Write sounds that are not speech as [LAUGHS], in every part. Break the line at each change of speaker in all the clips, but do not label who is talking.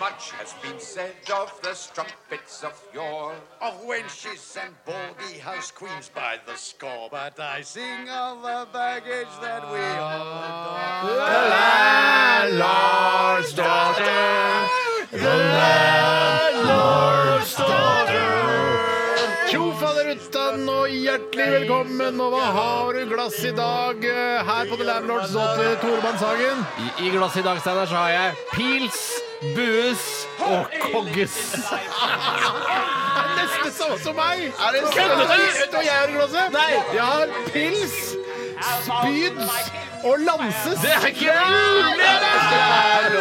Much has been said of the strumpets of yore, of wenches and baldy house queens by the score. But I sing of the baggage that we all adore.
Tjo faderuttan og hjertelig velkommen, og hva har du i glass i dag eh, her på The Landlords Daughter, Toremann Sagen?
I, I glasset i dag, Steinar, så har jeg pils, bues og kogges.
Nesten samme som meg! Er det samme Vet du hva jeg har i glasset? Nei. Jeg har pils, spyds og lanses. Det er ikke mulig!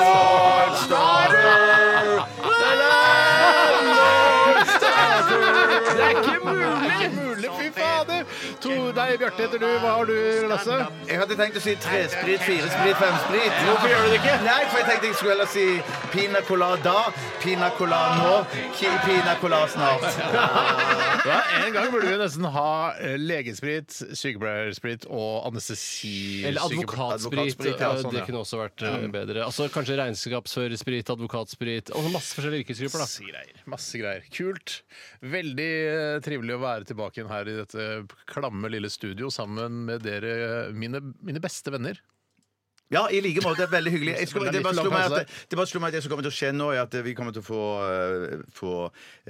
Det er ikke mulig!
Fy fader! Tor, nei, Bjarte heter du. Hva har du i glasset?
Jeg hadde tenkt å si tresprit, firesprit, femsprit.
Hvorfor gjør du det ikke?
Nei, for jeg tenkte jeg skulle heller si pina colada, pina colada nå, ki- pina colada snart.
Ja, En gang burde vi nesten ha eh, legesprit, sykepleiersprit og anestesi...
Eller advokatsprit.
advokatsprit, ja,
øh,
sånn,
Det
ja.
kunne også vært øh, bedre. Altså Kanskje regnskapsførersprit, advokatsprit og masse forskjellige yrkesgrupper. da
Masse greier. Masse greier. Kult. Veldig eh, trivelig å være tilbake igjen her i dette klamme lille studio sammen med dere, eh, mine, mine beste venner.
Ja, i like måte. Veldig hyggelig. Jeg skulle, det bare slo meg
Lang
at det, bare slo meg at det som kommer til å skje nå, er at vi kommer til å få, eh, få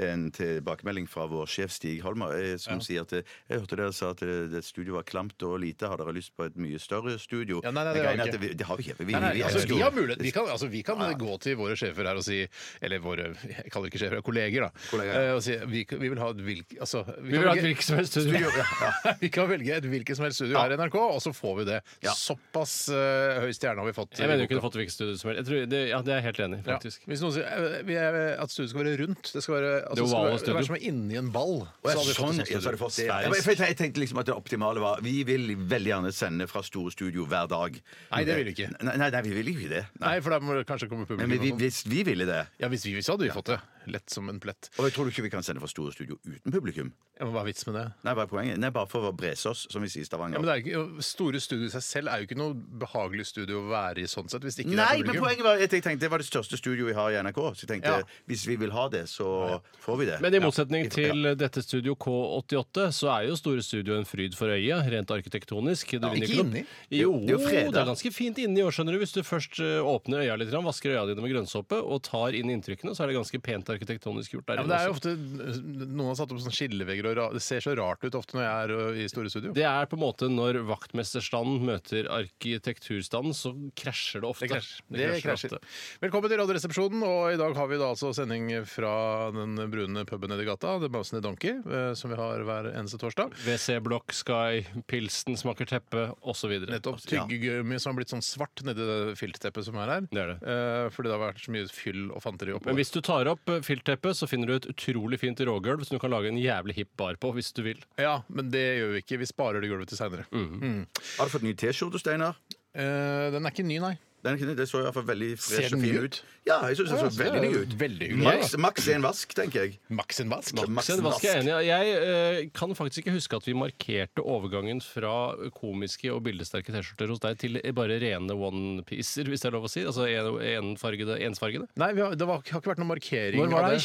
en tilbakemelding fra vår sjef Stig Holmer, eh, som sier at eh, Jeg hørte dere sa at eh, det studioet var klamt og lite. Har dere lyst på et mye større studio?
Ja, nei, nei, det
Jeg
har vi
regner
ikke.
at vi- Det har vi ikke. Vi, vi,
Nei,
vi
altså,
elsker
vi
jo-
har mulighet. Vi kan, altså, vi kan gå til våre sjefer her og si Eller våre jeg kaller det ikke sjefer, det er kolleger, da.
Kolleger.
eh, Og si vi, vi vil ha et hvilket altså,
Vi vil ha et hvilket som helst studio.
[LAUGHS] vi kan velge et hvilket som helst studio her i NRK, og så får vi det. Såpass eh, høy stjerne har vi fått.
Jeg mener
i
du kunne
boka.
fått hvilket studio som helst. Jeg tror, det, ja, det er jeg helt enig i,
Ja.
faktisk.
Hvis noen sier eh, vi er, at studioet skal være rundt Det skal være, altså,
Det
det skal
ovale
være, det skal være
studio.
som er inni en ball.
Å, ja,
Så hadde vi fått
sånn,
et sånt
ja, så hadde
studio.
vi fått det. Ja, men jeg tenkte- Jeg tenkte liksom at det optimale var Vi vil veldig gjerne sende fra store studio hver dag.
Nei, det vil vi ikke.
Nei, nei, nei, vi vil ikke det. Nei.
Nei, for da må det kanskje komme
Men
publikum.
vi, vi,
og sånt.
hvis vi ville det
ja, hvis vi visste, hadde vi fått det. Lett som en plett.
Og jeg tror ikke vi kan sende fra store studio uten publikum.
Ja, men Hva er vits med det?
Nei, hva er poenget? Nei, Bare for å brese oss, som vi sier i Stavanger.
Ja, men det er ikke, Store studio i seg selv er jo ikke noe behagelig studio å være i sånn sett, hvis det ikke
Nei,
det er
men
publikum.
poenget var at jeg tenkte det var det største studioet vi har i NRK. Så jeg tenkte
Ja.
hvis vi vil ha det, så får vi det.
Men i motsetning til dette studio K88, så er jo Store Studio en fryd for øyet, rent arkitektonisk. Du vinner
ikke
noe-
inni.
Jo,
Det er
det
jo freda.
er ganske fint inni òg, skjønner du. Hvis du først eh, åpner øya litt, grann, vasker øya dine med grønnsåpe og tar inn inntrykkene, så er det ganske pent arkitektonisk gjort der
Ja, men
inne.
det er jo
også.
ofte, Noen har satt opp sånne skillevegger, og ra det ser så rart ut ofte når jeg er ø, i store studio.
Det er på en måte når vaktmesterstanden møter arkitekturstanden, så krasjer det ofte.
Det krasjer. Velkommen til Radioresepsjonen. og I dag har vi da altså sending fra den brune puben nedi gata, The Mousene Donkey, eh, som vi har hver eneste torsdag.
WC Block Sky, Pilsen smaker teppe, osv.
Nettopp. Tyggegummi som har blitt sånn svart nedi det filtteppet som er her.
Det er det.
Eh, fordi det har vært så mye fyll og fanteri oppå.
Men hvis du tar opp eh, filtteppet, så finner du et utrolig fint rågulv som du kan lage en jævlig hipp bar på hvis du vil.
Ja, men det gjør vi ikke. Vi sparer det gulvet til seinere.
Mm.
Har du fått ny T-skjorte, Steinar?
Eh, den er ikke ny, nei.
Den, det så i hvert fall veldig
Ser
fresh
den
og
ny
fin
ut?
ut. Ja, jeg syns den så
det er
veldig ny ut.
veldig hyggelig,
Maks, maks en vask, tenker jeg.
Max en vask.
Max
Så det var ikke jeg enig i. Jeg eh, kan faktisk ikke huske at vi markerte overgangen fra komiske og bildesterke T-skjorter hos deg til bare rene one-piecer, hvis det er lov å si. Altså en- enfargede, ensfargede.
Nei, vi har, det var, har ikke vært noen markering
Når var
av
det? I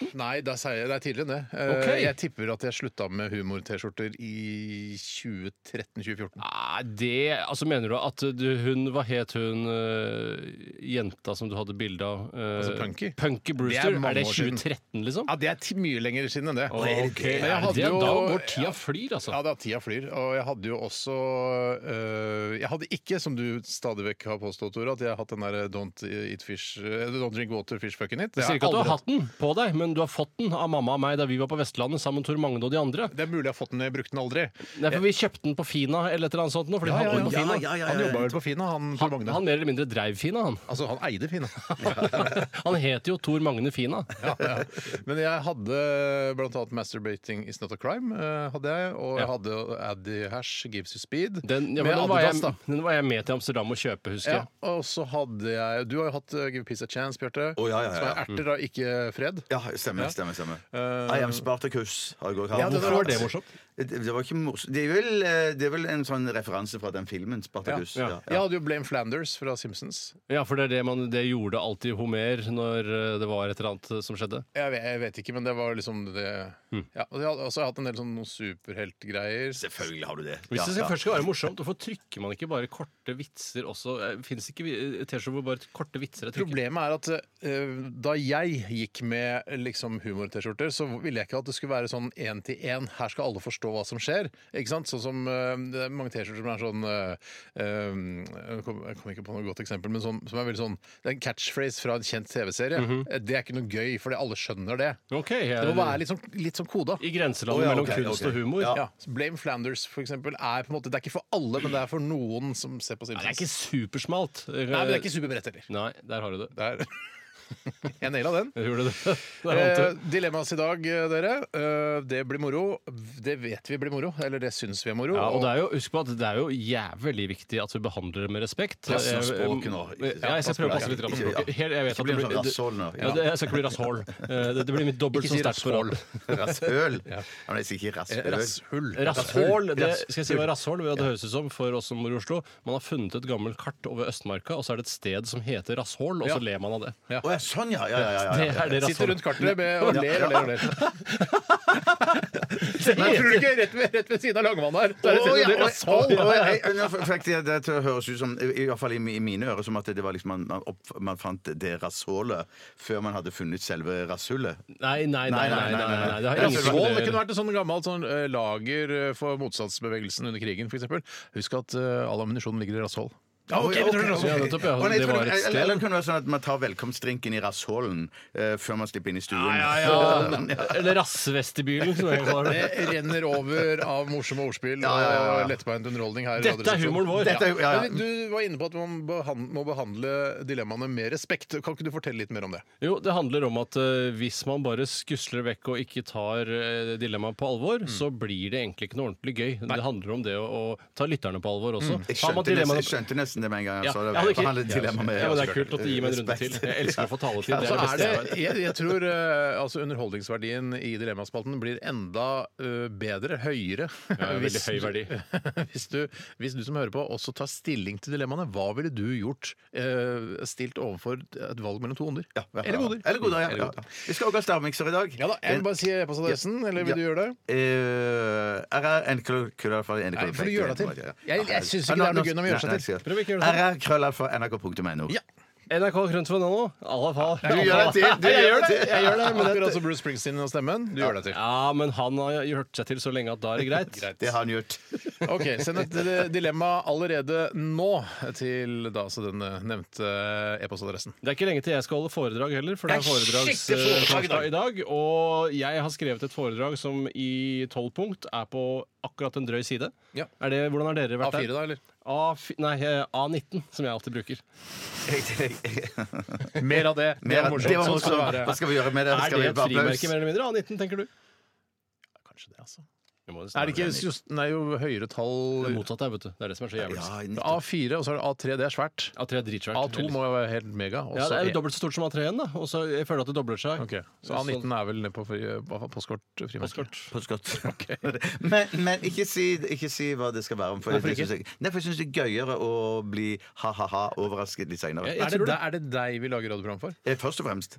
2017-2018?
Nei, det er, seier- det er tidligere enn det. Eh,
Ok.
Jeg tipper at jeg slutta med humor-T-skjorter i 2013-2014.
Nei, det Altså, mener du at du, hun Hva het hun eh, jenta som du hadde bilde av? eh,
Altså Punky?
Punky
Det
Brewster?
er mange
Er, det
år siden.
2013, liksom?
Ja, det er ti- mye lenger siden enn det.
Ok,
Men jeg
er det
hadde
det?
jo
Da går tida flyr, altså.
Ja, da, tida flyr. Og jeg hadde jo også øh, Jeg hadde ikke, som du stadig vekk har påstått, Tore, at jeg har hatt den der øh, Don't eat fish eh, Don't drink water, fish fucking it. Det, har jeg
Jeg sier ikke at du
aldri
har hatt den på deg, men du har fått den av mamma og meg da vi var på Vestlandet sammen med Tor Magne og de andre.
hatt. det er mulig jeg har fått den, jeg brukte den aldri.
Nei, for Vi kjøpte den på Fina eller et eller annet sånt. nå, Fordi
Ja,
han
ja,
var på
ja.
Fina.
Ja, ja, ja,
Han
ja.
jobba vel på Fina, han Tor Magne.
han mer eller mindre dreiv Fina,
[LAUGHS]
han.
Altså, han eide
[LAUGHS]
Finn.
han heter jo Tor Magne Fina.
ja, ja. Men jeg hadde bl.a. 'Masturbating Is Not A Crime'. eh, hadde jeg, Og jeg
Ja.
hadde Addy Hash Gives You Speed.
Den, ja, men
med
den, var
Adidas,
jeg,
da.
den var jeg med til Amsterdam og kjøpe, husker
Ja,
jeg.
og så hadde jeg Du har jo hatt eh, Give Peace a Chance, Bjarte.
Å, ja, ja, ja.
Som er erter, da, ikke fred.
Ja, stemmer. stemmer, stemmer. I am Spartacus. Har jeg også hatt.
Ja, det
Hvorfor var det morsomt?
Det, det var ikke morsomt. Det er, vel, eh, det er vel en sånn referanse fra den filmen, Spartacus. Ja,
Ja, ja.
Jeg hadde jo Blame Flanders fra Simpsons.
Ja, for det er det man det gjorde alltid Homer når eh, det var et eller annet som skjedde.
Jeg vet, jeg vet ikke, men det var liksom det
Mm.
ja, og jeg hadde- Og så har jeg hatt en del sånn noen superheltgreier.
Selvfølgelig har du det.
Hvis
Ja,
det
ja.
skal- først skal være morsomt, hvorfor trykker man ikke bare korte vitser også? Fins ikke vi- T-skjorter hvor bare korte vitser er trykket?
Problemet er at eh, da jeg gikk med liksom, humor-T-skjorter, så ville jeg ikke at det skulle være sånn én til én. Her skal alle forstå hva som skjer. Ikke sant? Sånn som eh, det er mange T-skjorter som er sånn eh, eh, Jeg kom- jeg kommer ikke på noe godt eksempel, men sånn, som er veldig sånn Det er en catchphrase fra en kjent TV-serie.
Mhm.
Eh, Det er ikke noe gøy, fordi alle skjønner det.
Ok, jeg,
Det må være litt sånn, litt sånn koda.
I grenselandet
Å, ja,
mellom
ok,
kunst
ok.
og humor.
Ja.
Ja, Blame Flanders, for eksempel, er på en måte Det er ikke for alle, men det er for noen som ser på
Nei,
Simpsons.
det er ikke supersmalt. Eh,
Nei, men det er ikke superbrett heller.
Nei, der har du det.
Det er- [LAUGHS] Jeg naila den.
Jeg gjorde det. [LAUGHS] Der vant
Eh,
du.
dilemmas i dag, eh, dere. Eh, det blir moro. Det vet vi blir moro. Eller det syns vi er moro.
Ja, og det er jo, husk på at det er jo jævlig viktig at vi behandler det med respekt.
Pass på
Jeg-
språket nå. Ikke-
Ja, jeg skal prøve å passe litt på
Ikke- ja.
språket. Helt- Jeg
Ikke
vet at
bli
det
en
blir
sånn rasshål nå.
Ja, det, jeg skal ikke bli rasshål. Eh, Det, det blir mitt dobbelt
Ikke
så
si
sterkt forhold.
[LAUGHS] Rasshøl? Ja. men Jeg sier ikke
Eh,
rasshøl.
Rasshull.
Rasshål, det skal jeg si hva rasshål det høres ut som for oss som bor i Oslo. Man har funnet et gammelt kart over Østmarka, og så er det et sted som heter Rasshål, og så
Ja.
ler man av det.
Å ja, sånn, ja. ja, ja, ja, ja.
Det er det
Sitter
rasshål.
rundt kartet med, og ler og ler og ler. Men tror du ikke rett ved, rett ved siden av Langemann her? Så er det
Å,
sikkert
ja,
et
å,
rasshål.
å, ja, jeg- nå fikk jeg Det til å høres ut som, i hvert fall i mi- i mine ører, som at det var liksom man, man, opp, man fant det rasshålet før man hadde funnet selve rasshullet.
Nei, nei, nei. nei, nei, nei, nei. Det har
Rasshål
ingenting med
det
det å
kunne
gjøre.
vært et sånn gammelt sånn, eh, lager eh, for motstandsbevegelsen under krigen, f.eks. Husk at eh, all ammunisjon ligger i rasshål. Ja,
ok,
men det er
ok,
rasshøl.
Ja, nettopp, ja.
Å, nei, jeg
Det
tror
var
det-
et
eller, eller det
sted.
kunne være sånn at man tar velkomstdrinken i rasshålen eh, før man slipper inn i stuen.
Ja, ja, ja. Eller rassvestibylen, som jeg kaller det.
[LAUGHS] Det renner over av morsomme ordspill
Ja, ja, ja, ja.
og lettbeint underholdning her. i
Dette er
Radioresepsjonen.
humoren vår.
Dette er jo- ja, ja.
Men Du var inne på at man behan- må behandle dilemmaene med respekt. Kan ikke du fortelle litt mer om det?
Jo, det handler om at eh, hvis man bare skusler vekk og ikke tar uh, dilemmaet på alvor, så blir det egentlig ikke noe ordentlig gøy. Det handler om det å, å ta lytterne på alvor også.
Jeg
Tar
skjønte, nesten,
man dilemmaene-
jeg skjønnte nesten det med en gang.
Ja,
Jeg sa det.
jeg hadde ikke-
Behandle dilemma med
ja, men det er kult at du gir meg en runde til.
respekt.
Jeg elsker å få taletid.
Så
Det er det
Altså, er
beste
det,
jeg vet.
jeg, jeg tror eh, altså underholdningsverdien i Dilemmaspalten blir enda eh, bedre, høyere.
veldig
hvis
høy
du- [LAUGHS] hvis, du, hvis du som hører på også tar stilling til dilemmaene, hva ville du gjort eh, stilt overfor et valg mellom to onder?
Ja, ja, ja.
Eller goder.
Eller goder, ja, ja. Vi skal også ha stavmikser i dag.
Ja da, jeg vil bare si e-postadressen, eller vil du gjøre det?
Eh, RR NKLalfa
Nei, for du gjør deg til. Jeg- jeg synes ikke det er noe gøy når man gjør seg til.
Prøv ikke å gjøre det
RR Krøllalfa NRK.no.
Ja.
NRK Krønt.no. Alle fall.
Du gjør deg til!
[LAUGHS]
Du
Jeg
gjør
gjør
deg
det!
til.
Jeg gjør det men
Akkurat
det-
som Bruce Springsteen og stemmen. Du gjør deg til.
Ja, men han har hørt seg til så lenge at da er det greit.
Det har han gjort.
Ok, Send et dilemma allerede nå til da, altså den nevnte eh, e-postadressen.
Det er ikke lenge til jeg skal holde foredrag heller, for det er foredragstorsdag i dag. Og jeg har skrevet et foredrag som i tolv punkt er på akkurat en drøy side.
Ja.
Er det, hvordan har dere vært
A4,
der?
da, eller?
A4, nei, eh, A19, som jeg alltid bruker.
Mer av det.
Mer, det var
Sånn skal
morsomt.
det
Hva
være.
skal vi gjøre med det?
Er
Skal
det
vi
et
bare applaus?
frimerke, mer eller mindre? A19, tenker du?
Kanskje det, altså.
Jeg må nesten
Er det ikke
være enig.
just, nei, jo høyere
Det
tall
motsatte er, vet du. Det er det som er så jævlig.
Ja, nettopp.
A4, og så er det A3. Det er svært.
A3 er dritsvært.
A2 må jo være helt mega. og
ja,
så
Det er
E.
jo dobbelt så stort som A3 igjen, da. Og så jeg føler at det dobler seg.
Ok, Så A19 er vel ned på fri- hva faen, postkort? eh, frimerke.
Postkort.
På
[LAUGHS]
skott. Men, men ikke, si, ikke si hva det skal være om. For
Hvorfor
det
ikke?
synes jeg, nei, for jeg syns det er gøyere å bli ha-ha-ha overrasket litt seinere.
Jeg
Er det,
tror det.
deg- er det deg vi lager radioprogram for?
Eh, Først og fremst.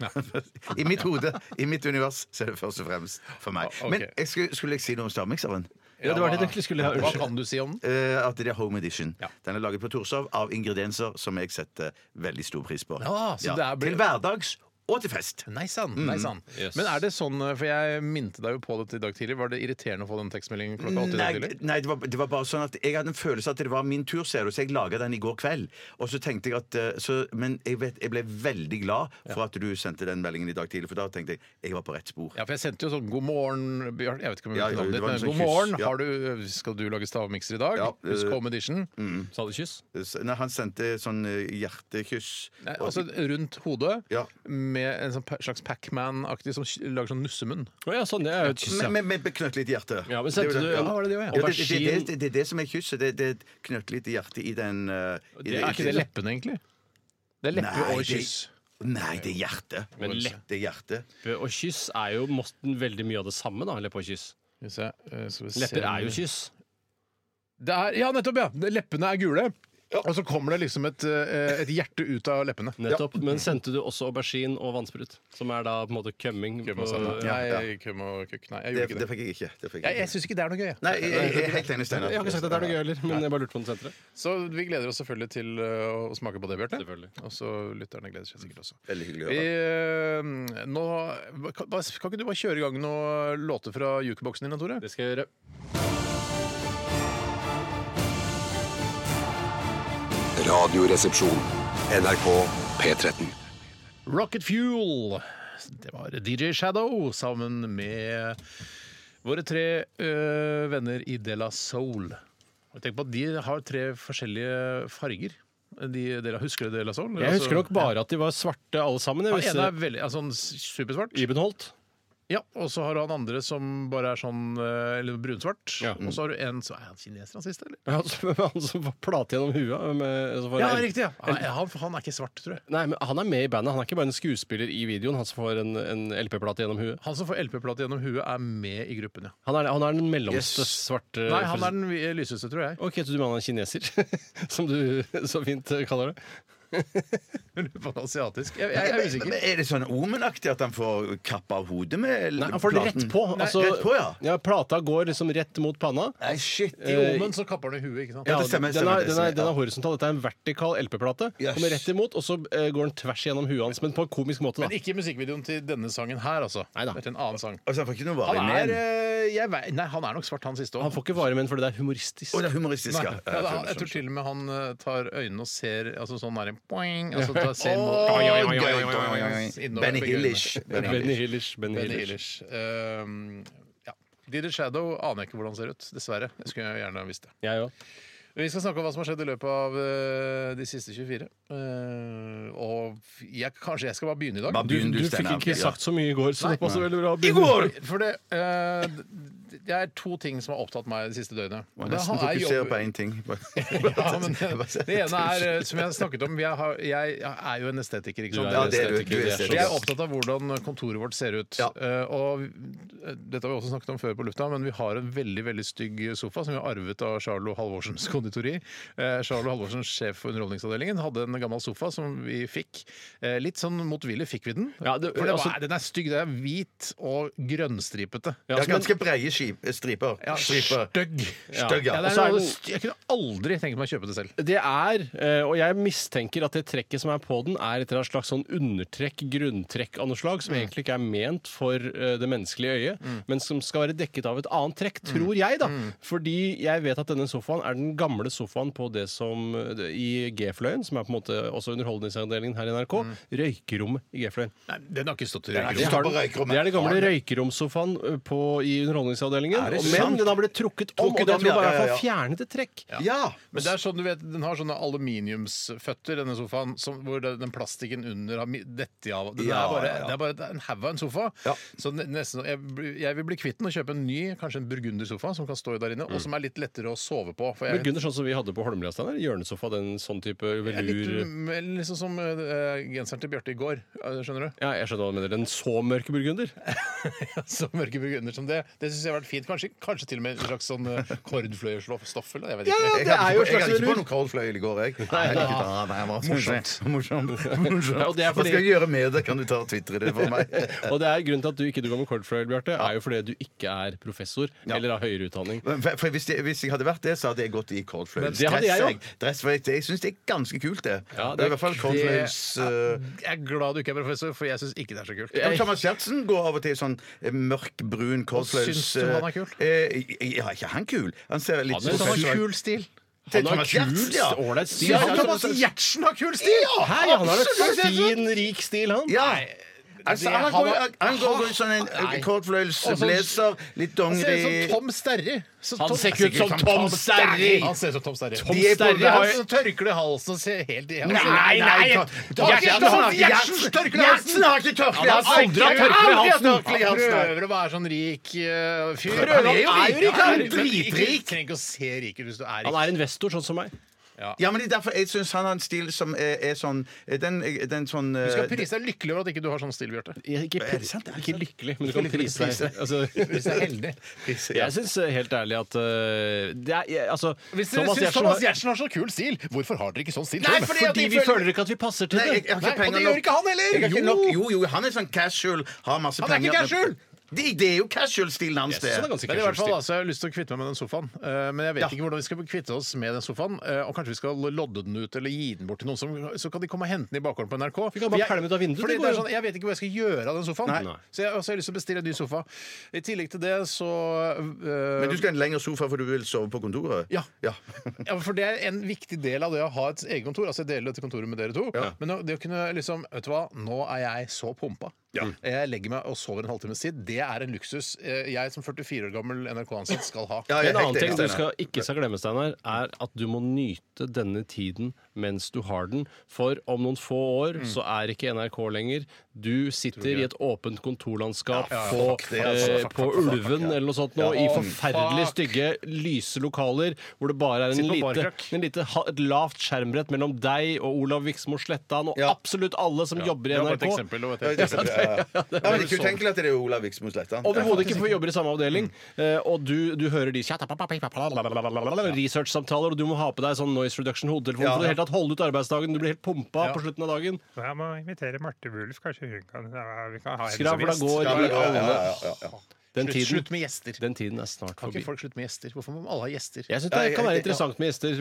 [LAUGHS] I mitt hode, i mitt univers, så er det først og fremst for meg.
Ah, ok.
Men jeg skulle, skulle jeg si noe om stavmikseren?
Ja, det var det jeg egentlig skulle ha.
Hva
Unnskyld.
kan du si om den?
Eh, at det er Home Edition.
Ja.
Den er laget på Torshov av ingredienser som jeg setter veldig stor pris på.
Ja, så det er-
Til hverdags og til fest.
Nei sann. Nei
Mm.
sann.
Yes.
Men er det sånn, for jeg minte deg jo på dette i dag tidlig, var det irriterende å få den tekstmeldingen klokka åtte i dag
Nei,
tidlig?
nei det, var, det var bare sånn at jeg hadde en følelse at det var min tur, ser du, så jeg laga den i går kveld. Og så tenkte jeg at eh, så, Men jeg, vet, jeg ble veldig glad for at du sendte den meldingen i dag tidlig, for da tenkte jeg jeg var på rett spor.
Ja, for jeg sendte jo sånn 'God morgen, Bjarte'. Jeg vet ikke om jeg
Ja,
vet
jo,
navnet
det
ditt,
var en
men
sånn
'God
kyss,
morgen,
ja.
har du, skal du lage stavmikser i dag?'
Ja,
Husk
øh,
Home Edition.
Sa du kyss?
Så- Nei, han sendte sånn eh, hjertekyss.
Nei,
Og-
altså rundt hodet,
Ja.
med en sånn pa- slags Pacman-aktig som ky- lager sånn nissemunn.
Å ja, sånn. Det er jo et kyss,
Men-
ja.
men- men med knøttlite hjerte.
Ja, men sendte
Det er jo
du-
det-
Ja, var det det, ja?
Ja, det- det- det-
Aubergine-
det- Det er det som er kysset. Det det er et knøttlite hjerte i den eh, i
Det er
Er ikke det
i-
leppene, egentlig? Det er leppe
Nei,
og
det-
kyss.
Nei, det er hjerte.
Men lepp-
Det er hjerte.
Leppe og kyss er jo måten veldig mye av det samme, da. Leppe og kyss.
Hvis jeg, eh, skal vi se
Lepper
om
er jo
det-
kyss.
Det er, ja, nettopp, ja. Leppene er gule. Og så kommer det liksom et, eh, et hjerte ut av leppene.
Nettopp. Men sendte du også aubergine og vannsprut? Som er da på en måte kømming
Køm og sand.
på
ja, ja.
Nei, køm og kukk. Nei, jeg
Det,
gjorde ikke
det
det.
fikk jeg ikke. Det fikk
Jeg,
jeg
jeg
ikke.
syns ikke det er noe gøy. jeg.
Nei, jeg, jeg, jeg er helt enig, Steinar.
Jeg har ikke sagt at det er noe gøy heller, men jeg bare lurte på om du sendte det.
Så vi gleder oss selvfølgelig til eh, å smake på det, Bjarte.
Selvfølgelig.
Og så lytterne gleder seg sikkert også.
Veldig hyggelig å
Vi,
høre.
eh, nå, kan, kan ikke du bare kjøre i gang noen låter fra jukeboksen din, Tore?
Det skal jeg gjøre.
Radioresepsjon. NRK P13.
Rocket Fuel. Det var DJ Shadow sammen med våre tre ø, venner i De La Soul. Og Tenk på at de har tre forskjellige farger. De, dere husker du De La Soul? Altså-
Jeg husker nok bare at de var svarte alle sammen. Jeg
Han ene
visste
er veldig, altså han s- supersvart.
Iben Holt.
Ja, Og så har du han andre som bare er sånn ø, eller brunsvart.
Ja.
Og så har du en så Er han kineser, han siste, eller?
Han [LAUGHS] som, han som var plate gjennom huet. Med, altså som får-
Ja, riktig! ja Nei, han, han er ikke svart, tror jeg.
Nei, men Han er med i bandet. Han er ikke bare en skuespiller i videoen. Han som får en, en LP-plate gjennom huet.
Han som får LP-plate gjennom huet, er med i gruppen, ja.
Han er, han er den mellomste
Yes.
svarte
Nei, han er den vi- lyseste, tror jeg.
[LAUGHS] Ok, så du mener han er kineser? som du så fint kaller det.
Lurer på om det er asiatisk. Jeg, jeg, jeg er
Men- men
usikker.
Er det sånn omenaktig at han får kappa av hodet med
Nei, han får det rett
platen?
på. altså-
rett på, ja.
Plata går liksom rett mot panna.
Nei, shit.
I
Eh,
Omen så kapper han i huet, ikke sant?
Ja, det
den-
stemmer,
den,
stemmer,
er,
det
den, er,
stemmer,
den er
ja.
horisontal. Dette er en vertikal LP-plate.
Yes.
Kommer rett imot, og så eh, går den tvers gjennom huet hans, men på en komisk måte.
Men
da
ikke musikkvideoen til denne sangen her, altså.
Neida.
Det er til en annen sang.
Altså, han får ikke noe varig
Han
men.
er, eh, jeg vei, nei, han er nok svart, han siste
Han
òg.
får ikke vare med den fordi det er humoristisk.
Å, det er humoristisk, ja.
Ja, da,
Ja,
han- jeg tror
skjønner,
til og med han eh, tar øynene og ser altså sånn der, poing, altså, da ser han
skjønner. Oi, oi, oi, oi.
Innover
Benny
begge
Hillish.
øynene.
Benny
Benny
Hillish.
Hillish. Benny
Benny
Hillish.
Ilish. ja. Diddy Shadow aner jeg ikke hvordan ser ut, dessverre. Jeg skulle gjerne visst det.
Jeg òg.
Vi skal snakke om hva som har skjedd i løpet av eh, de siste 24. Eh, og jeg, kanskje jeg skal bare begynne i dag?
Bare
Du,
begynn,
du fikk
Steinar.
ikke
Ja.
sagt så mye i går, så det passer veldig bra. å
I
begynne.
går! For det, eh, d- det er to ting som har opptatt meg det siste døgnet.
Må
Det
nesten
har jeg
fokusere
jobb-
på én
[LAUGHS]
ting.
eh,
[LAUGHS]
[LAUGHS] ja, men det ene er, eh, som jeg har snakket om, jeg, har, jeg er jo en estetiker. ikke sant?
Ja, det er du.
estetiker,
Du er
det er
Så jeg er
estetiker.
opptatt av hvordan kontoret vårt ser ut.
Ja.
Eh, og eh, dette har vi også snakket om før på lufta, men vi har en veldig veldig stygg sofa som vi har arvet av Charlo Halvorsens [LAUGHS] konditori. Eh, Charlo Halvorsen, sjef for Underholdningsavdelingen, hadde en gammel sofa som vi fikk. Eh, litt sånn motvillig fikk vi den.
Ja, det-
for det var,
altså-
den er stygg. Den er hvit og grønnstripete.
Det
Ja,
er ganske breie skip- striper.
Ja,
Striper.
Stygg.
Stygg,
Ja,
ja.
det er
Og så er
noe,
den-
sty- jeg kunne aldri tenkt meg å kjøpe det selv.
Det er, eh, og jeg mistenker at det trekket som er på den, er et eller annet slags sånn undertrekk, grunntrekk av noe slag, som
Mm.
egentlig ikke er ment for eh, det menneskelige øyet, men som skal være dekket av et annet trekk,
Mm.
tror jeg, da. Fordi jeg vet at denne sofaen er den gamle sofaen på det som eh, i G-fløyen, som er på en måte også underholdningsavdelingen her i NRK,
Mm.
røykerommet i G-fløyen.
Nei, Den har ikke stått i
Det,
røykerommet.
står
har
på
den-
røykerommet.
det er den gamle
Ja.
røykeromsofaen ø, på, i Underholdningsavdelingen.
Er det
og- Men
sant?
den har blitt trukket om,
Trukket
og det
om,
tror jeg
ja,
bare
ja,
er for
ja.
å fjerne et trekk.
Ja!
Men det er sånn, du vet, Den har sånne aluminiumsføtter, denne sofaen, som, hvor det- den plastikken under har mi- dettet av. Den
Ja,
er bare,
ja, ja.
Det er bare det er en haug av en sofa.
Ja.
Så ne- nesten, jeg, bl- jeg vil bli kvitt den og kjøpe en ny, kanskje en burgundersofa, som kan stå der inne,
Mm.
og som er litt lettere å sove på. For jeg,
Burgunder sånn som vi hadde på Holmlia, Steinar. Hjørnesofa, den sånn type
jeg er litt,
velur
mm, liksom som eh, genseren til Bjarte i går, eh, skjønner du?
[LAUGHS]
Ja, jeg skjønner hva du mener. En så mørk burgunder?
[LAUGHS] Så mørke burgunder som det. Det syns jeg var vært fint. Kanskje, kanskje til og med en slags sånn eh, kordfløyelsstoff eller noe, jeg vet
Ja,
ikke.
ja,
Jeg
det
hadde
er
ikke på- jeg
jo et
hadde
slags
ikke på
lur.
noe koldfløyel i går, jeg.
Nei,
Nei, da, nei, det var Morsomt.
[LAUGHS]
Morsomt.
Ja, og det er
Hva
fordi-
skal jeg gjøre med det? Kan du ta og twitre det for meg?
[LAUGHS] Og det er grunnen til at du ikke går med cordfløyel, Bjarte, er jo fordi du ikke er professor eller har høyere utdanning.
For, for hvis, jeg, hvis jeg hadde vært det, så hadde jeg gått i
Men
coldfløyels.
det hadde jeg jo.
Dress, for jeg jeg syns det er ganske kult, det.
Ja,
det er
det-
I hvert fall coldfløyels eh,
Jeg er glad du ikke er professor, for jeg syns ikke det er så kult.
ja, men Thomas Giertsen går av og til i sånn eh, mørkbrun coldfløyels.
Syns du han er kul?
Eh, ja, er ikke han kul. Han ser litt
Han er
Han
sånn
har kul stil.
Det er
Han har
Thomas
kul,
Giertsen, ja.
ålreit stil.
Ja,
Han
ja,
kan
Thomas
bare-
Gjertsen har kul stil!
Hei, han har
absolutt.
en fin, rik stil, han.
Ja.
Det-
Altså, han,
han
går,
har-
han går går i sånn en
Nei. Altså,
coldfløyelsblazer, litt
Han ser ut som
dongeri
Tom Sterry. Så
Han
Tom-
ser ikke ut som
Han
Tom Sterry!
Han ser ut som Tom Sterry.
Tom
De er på-
Sterry
han
har
har
jo-
sånn tørkle i halsen og ser helt i
Nei, nei,
Tom- Tom-
Gjertsen har ikke-
Gjertsen tørkle i halsen!
Gjertsen har ikke tørkle i
Han har
halsen!
aldri hatt tørkle i
Aldri hatt
halsen.
tørkle i
Han
halsen! nei.
prøver å være sånn rik eh, fyr.
Prøver, han er jo rik, han er
men- men ikke-
dritrik.
Trenger ikke å se rik ut hvis du er
Han
rik.
er investor, sånn som meg.
Ja, men det er derfor jeg syns han har en stil som er, er sånn den, den sånn
Du skal
eh,
prise deg lykkelig over at ikke du har sånn stil, Bjarte.
Ikke,
Er det sant? Er det
ikke lykkelig, men du kan
Lykkelig,
prise deg. Altså,
Hvis du er heldig.
[LAUGHS] jeg syns helt ærlig at eh, det er, jeg, altså,
Hvis dere syns Thomas Gjertsen har så kul stil, hvorfor har dere ikke sånn stil?
Nei,
selv?
fordi-
har- fordi vi
føler-
føler ikke at vi passer til
Nei, jeg, jeg
det.
har
Nei,
ikke penger
og det
nok.
gjør ikke han heller!
Jeg har ikke
Jo.
nok. Jo, jo, han er sånn casual, har masse
Han er
penger.
ikke casual!
Det, det er jo casual-stilen hans,
Jeg
det.
synes han er ganske
Men i hvert fall
casual stil.
altså, Jeg har lyst til å kvitte meg med den sofaen, eh, men jeg vet
Ja.
ikke hvordan vi skal kvitte oss med den sofaen. eh, Og kanskje vi skal lodde den ut eller gi den bort til noen, som, så kan de komme og hente den i bakgården på NRK.
Vi kan
For
bare
jeg-
pælme den ut av vinduet,
Fordi det
det
er
går jo.
sånn, Jeg vet ikke hva jeg skal gjøre av den sofaen.
Nei.
Så jeg, også har jeg lyst til å bestille en ny sofa. I tillegg til det så eh,
Men du skal ha en lengre sofa, for du vil sove på kontoret?
Ja.
ja.
Ja, for Det er en viktig del av det å ha et eget kontor. Altså Jeg deler dette kontoret med dere to. Men å- det å kunne liksom Vet du hva, nå er jeg så pumpa. Jeg legger meg og sover en halvtimes tid. Det er en luksus eh, jeg som 44 år gammel NRK-ansatt skal ha.
Ja, jeg er
En annen
helt
ting
enig,
du
Steinar.
skal ikke skal glemme, Steinar, er at du må nyte denne tiden mens du har den. For om noen få
Mm.
år så er ikke NRK lenger. Du sitter i et åpent kontorlandskap på,
Fuck det, altså.
eh,
Fuck, fuck,
på
fuck, fuck,
Ulven
ja.
eller noe sånt nå,
Ja,
i
å,
forferdelig
fuck.
stygge, lyse lokaler hvor det bare er en
Sitt på
lite,
barkrakk.
en lite, ha- et lavt skjermbrett mellom deg og Olav Viksmo Slettan og
Ja.
absolutt alle som jobber i
Det var bare et
NRK.
eksempel. det sånn. var et
Ja,
eksempel.
det er- ja, ja. Ja, men det er ikke utenkelig at det er Olav Viksmo Slettan.
Overhodet ikke, for vi jobber i samme avdeling.
Mm.
Eh, Og du, du hører de research-samtaler, og du må ha på deg sånn noise reduction-hodetelefon
Ja.
for å helt tatt holde ut arbeidsdagen. Du blir helt pumpa
Ja.
på slutten av dagen.
Så jeg må invitere Marte Wulf. Kanskje hun kan, ja, vi kan ha henne som
Skravla
gjest.
går
Ja,
i
men- ja, ja,
alle
ja, ja, ja.
Den
Slutt,
tiden,
slutt med gjester.
den tiden er snart
Kan
forbi.
ikke folk slutte med gjester? Hvorfor må alle ha gjester?
Jeg
Ja,
syns det
jeg-
kan
jeg-
være interessant med gjester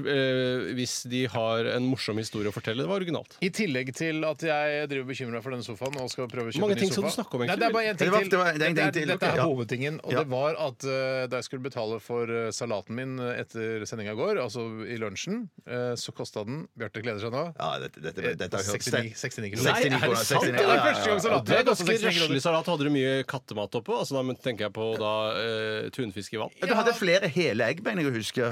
eh, hvis de har en morsom historie å fortelle. Det var originalt.
I tillegg til at jeg driver og bekymrer meg for denne sofaen og skal prøve å kjøpe
Mange
ny
ting skal
sofa.
du snakke om, egentlig.
Nei, det er bare en ting
Det var-
til.
det var en ting
Dette er-
til,
Dette er
ja.
hovedtingen, og
Ja.
det var at eh, da jeg skulle betale for eh, salaten min etter sendinga i går, altså i lunsjen, eh, så kosta den Bjarte gleder seg nå.
Ja, dette, dette,
Eh,
dette, har jeg hørt.
69, 69 kroner.
Nei, er det
69 kroner,
sant?
69,
Det
ja,
var
ja, ja,
første gang
ja.
salaten.
Det er ganske
69 kroner.
røslig salat. Hadde du mye kattemat oppå? Altså, da tenker jeg på da eh, tunfisk i vann.
Ja, Du hadde flere hele egg, mener jeg å huske.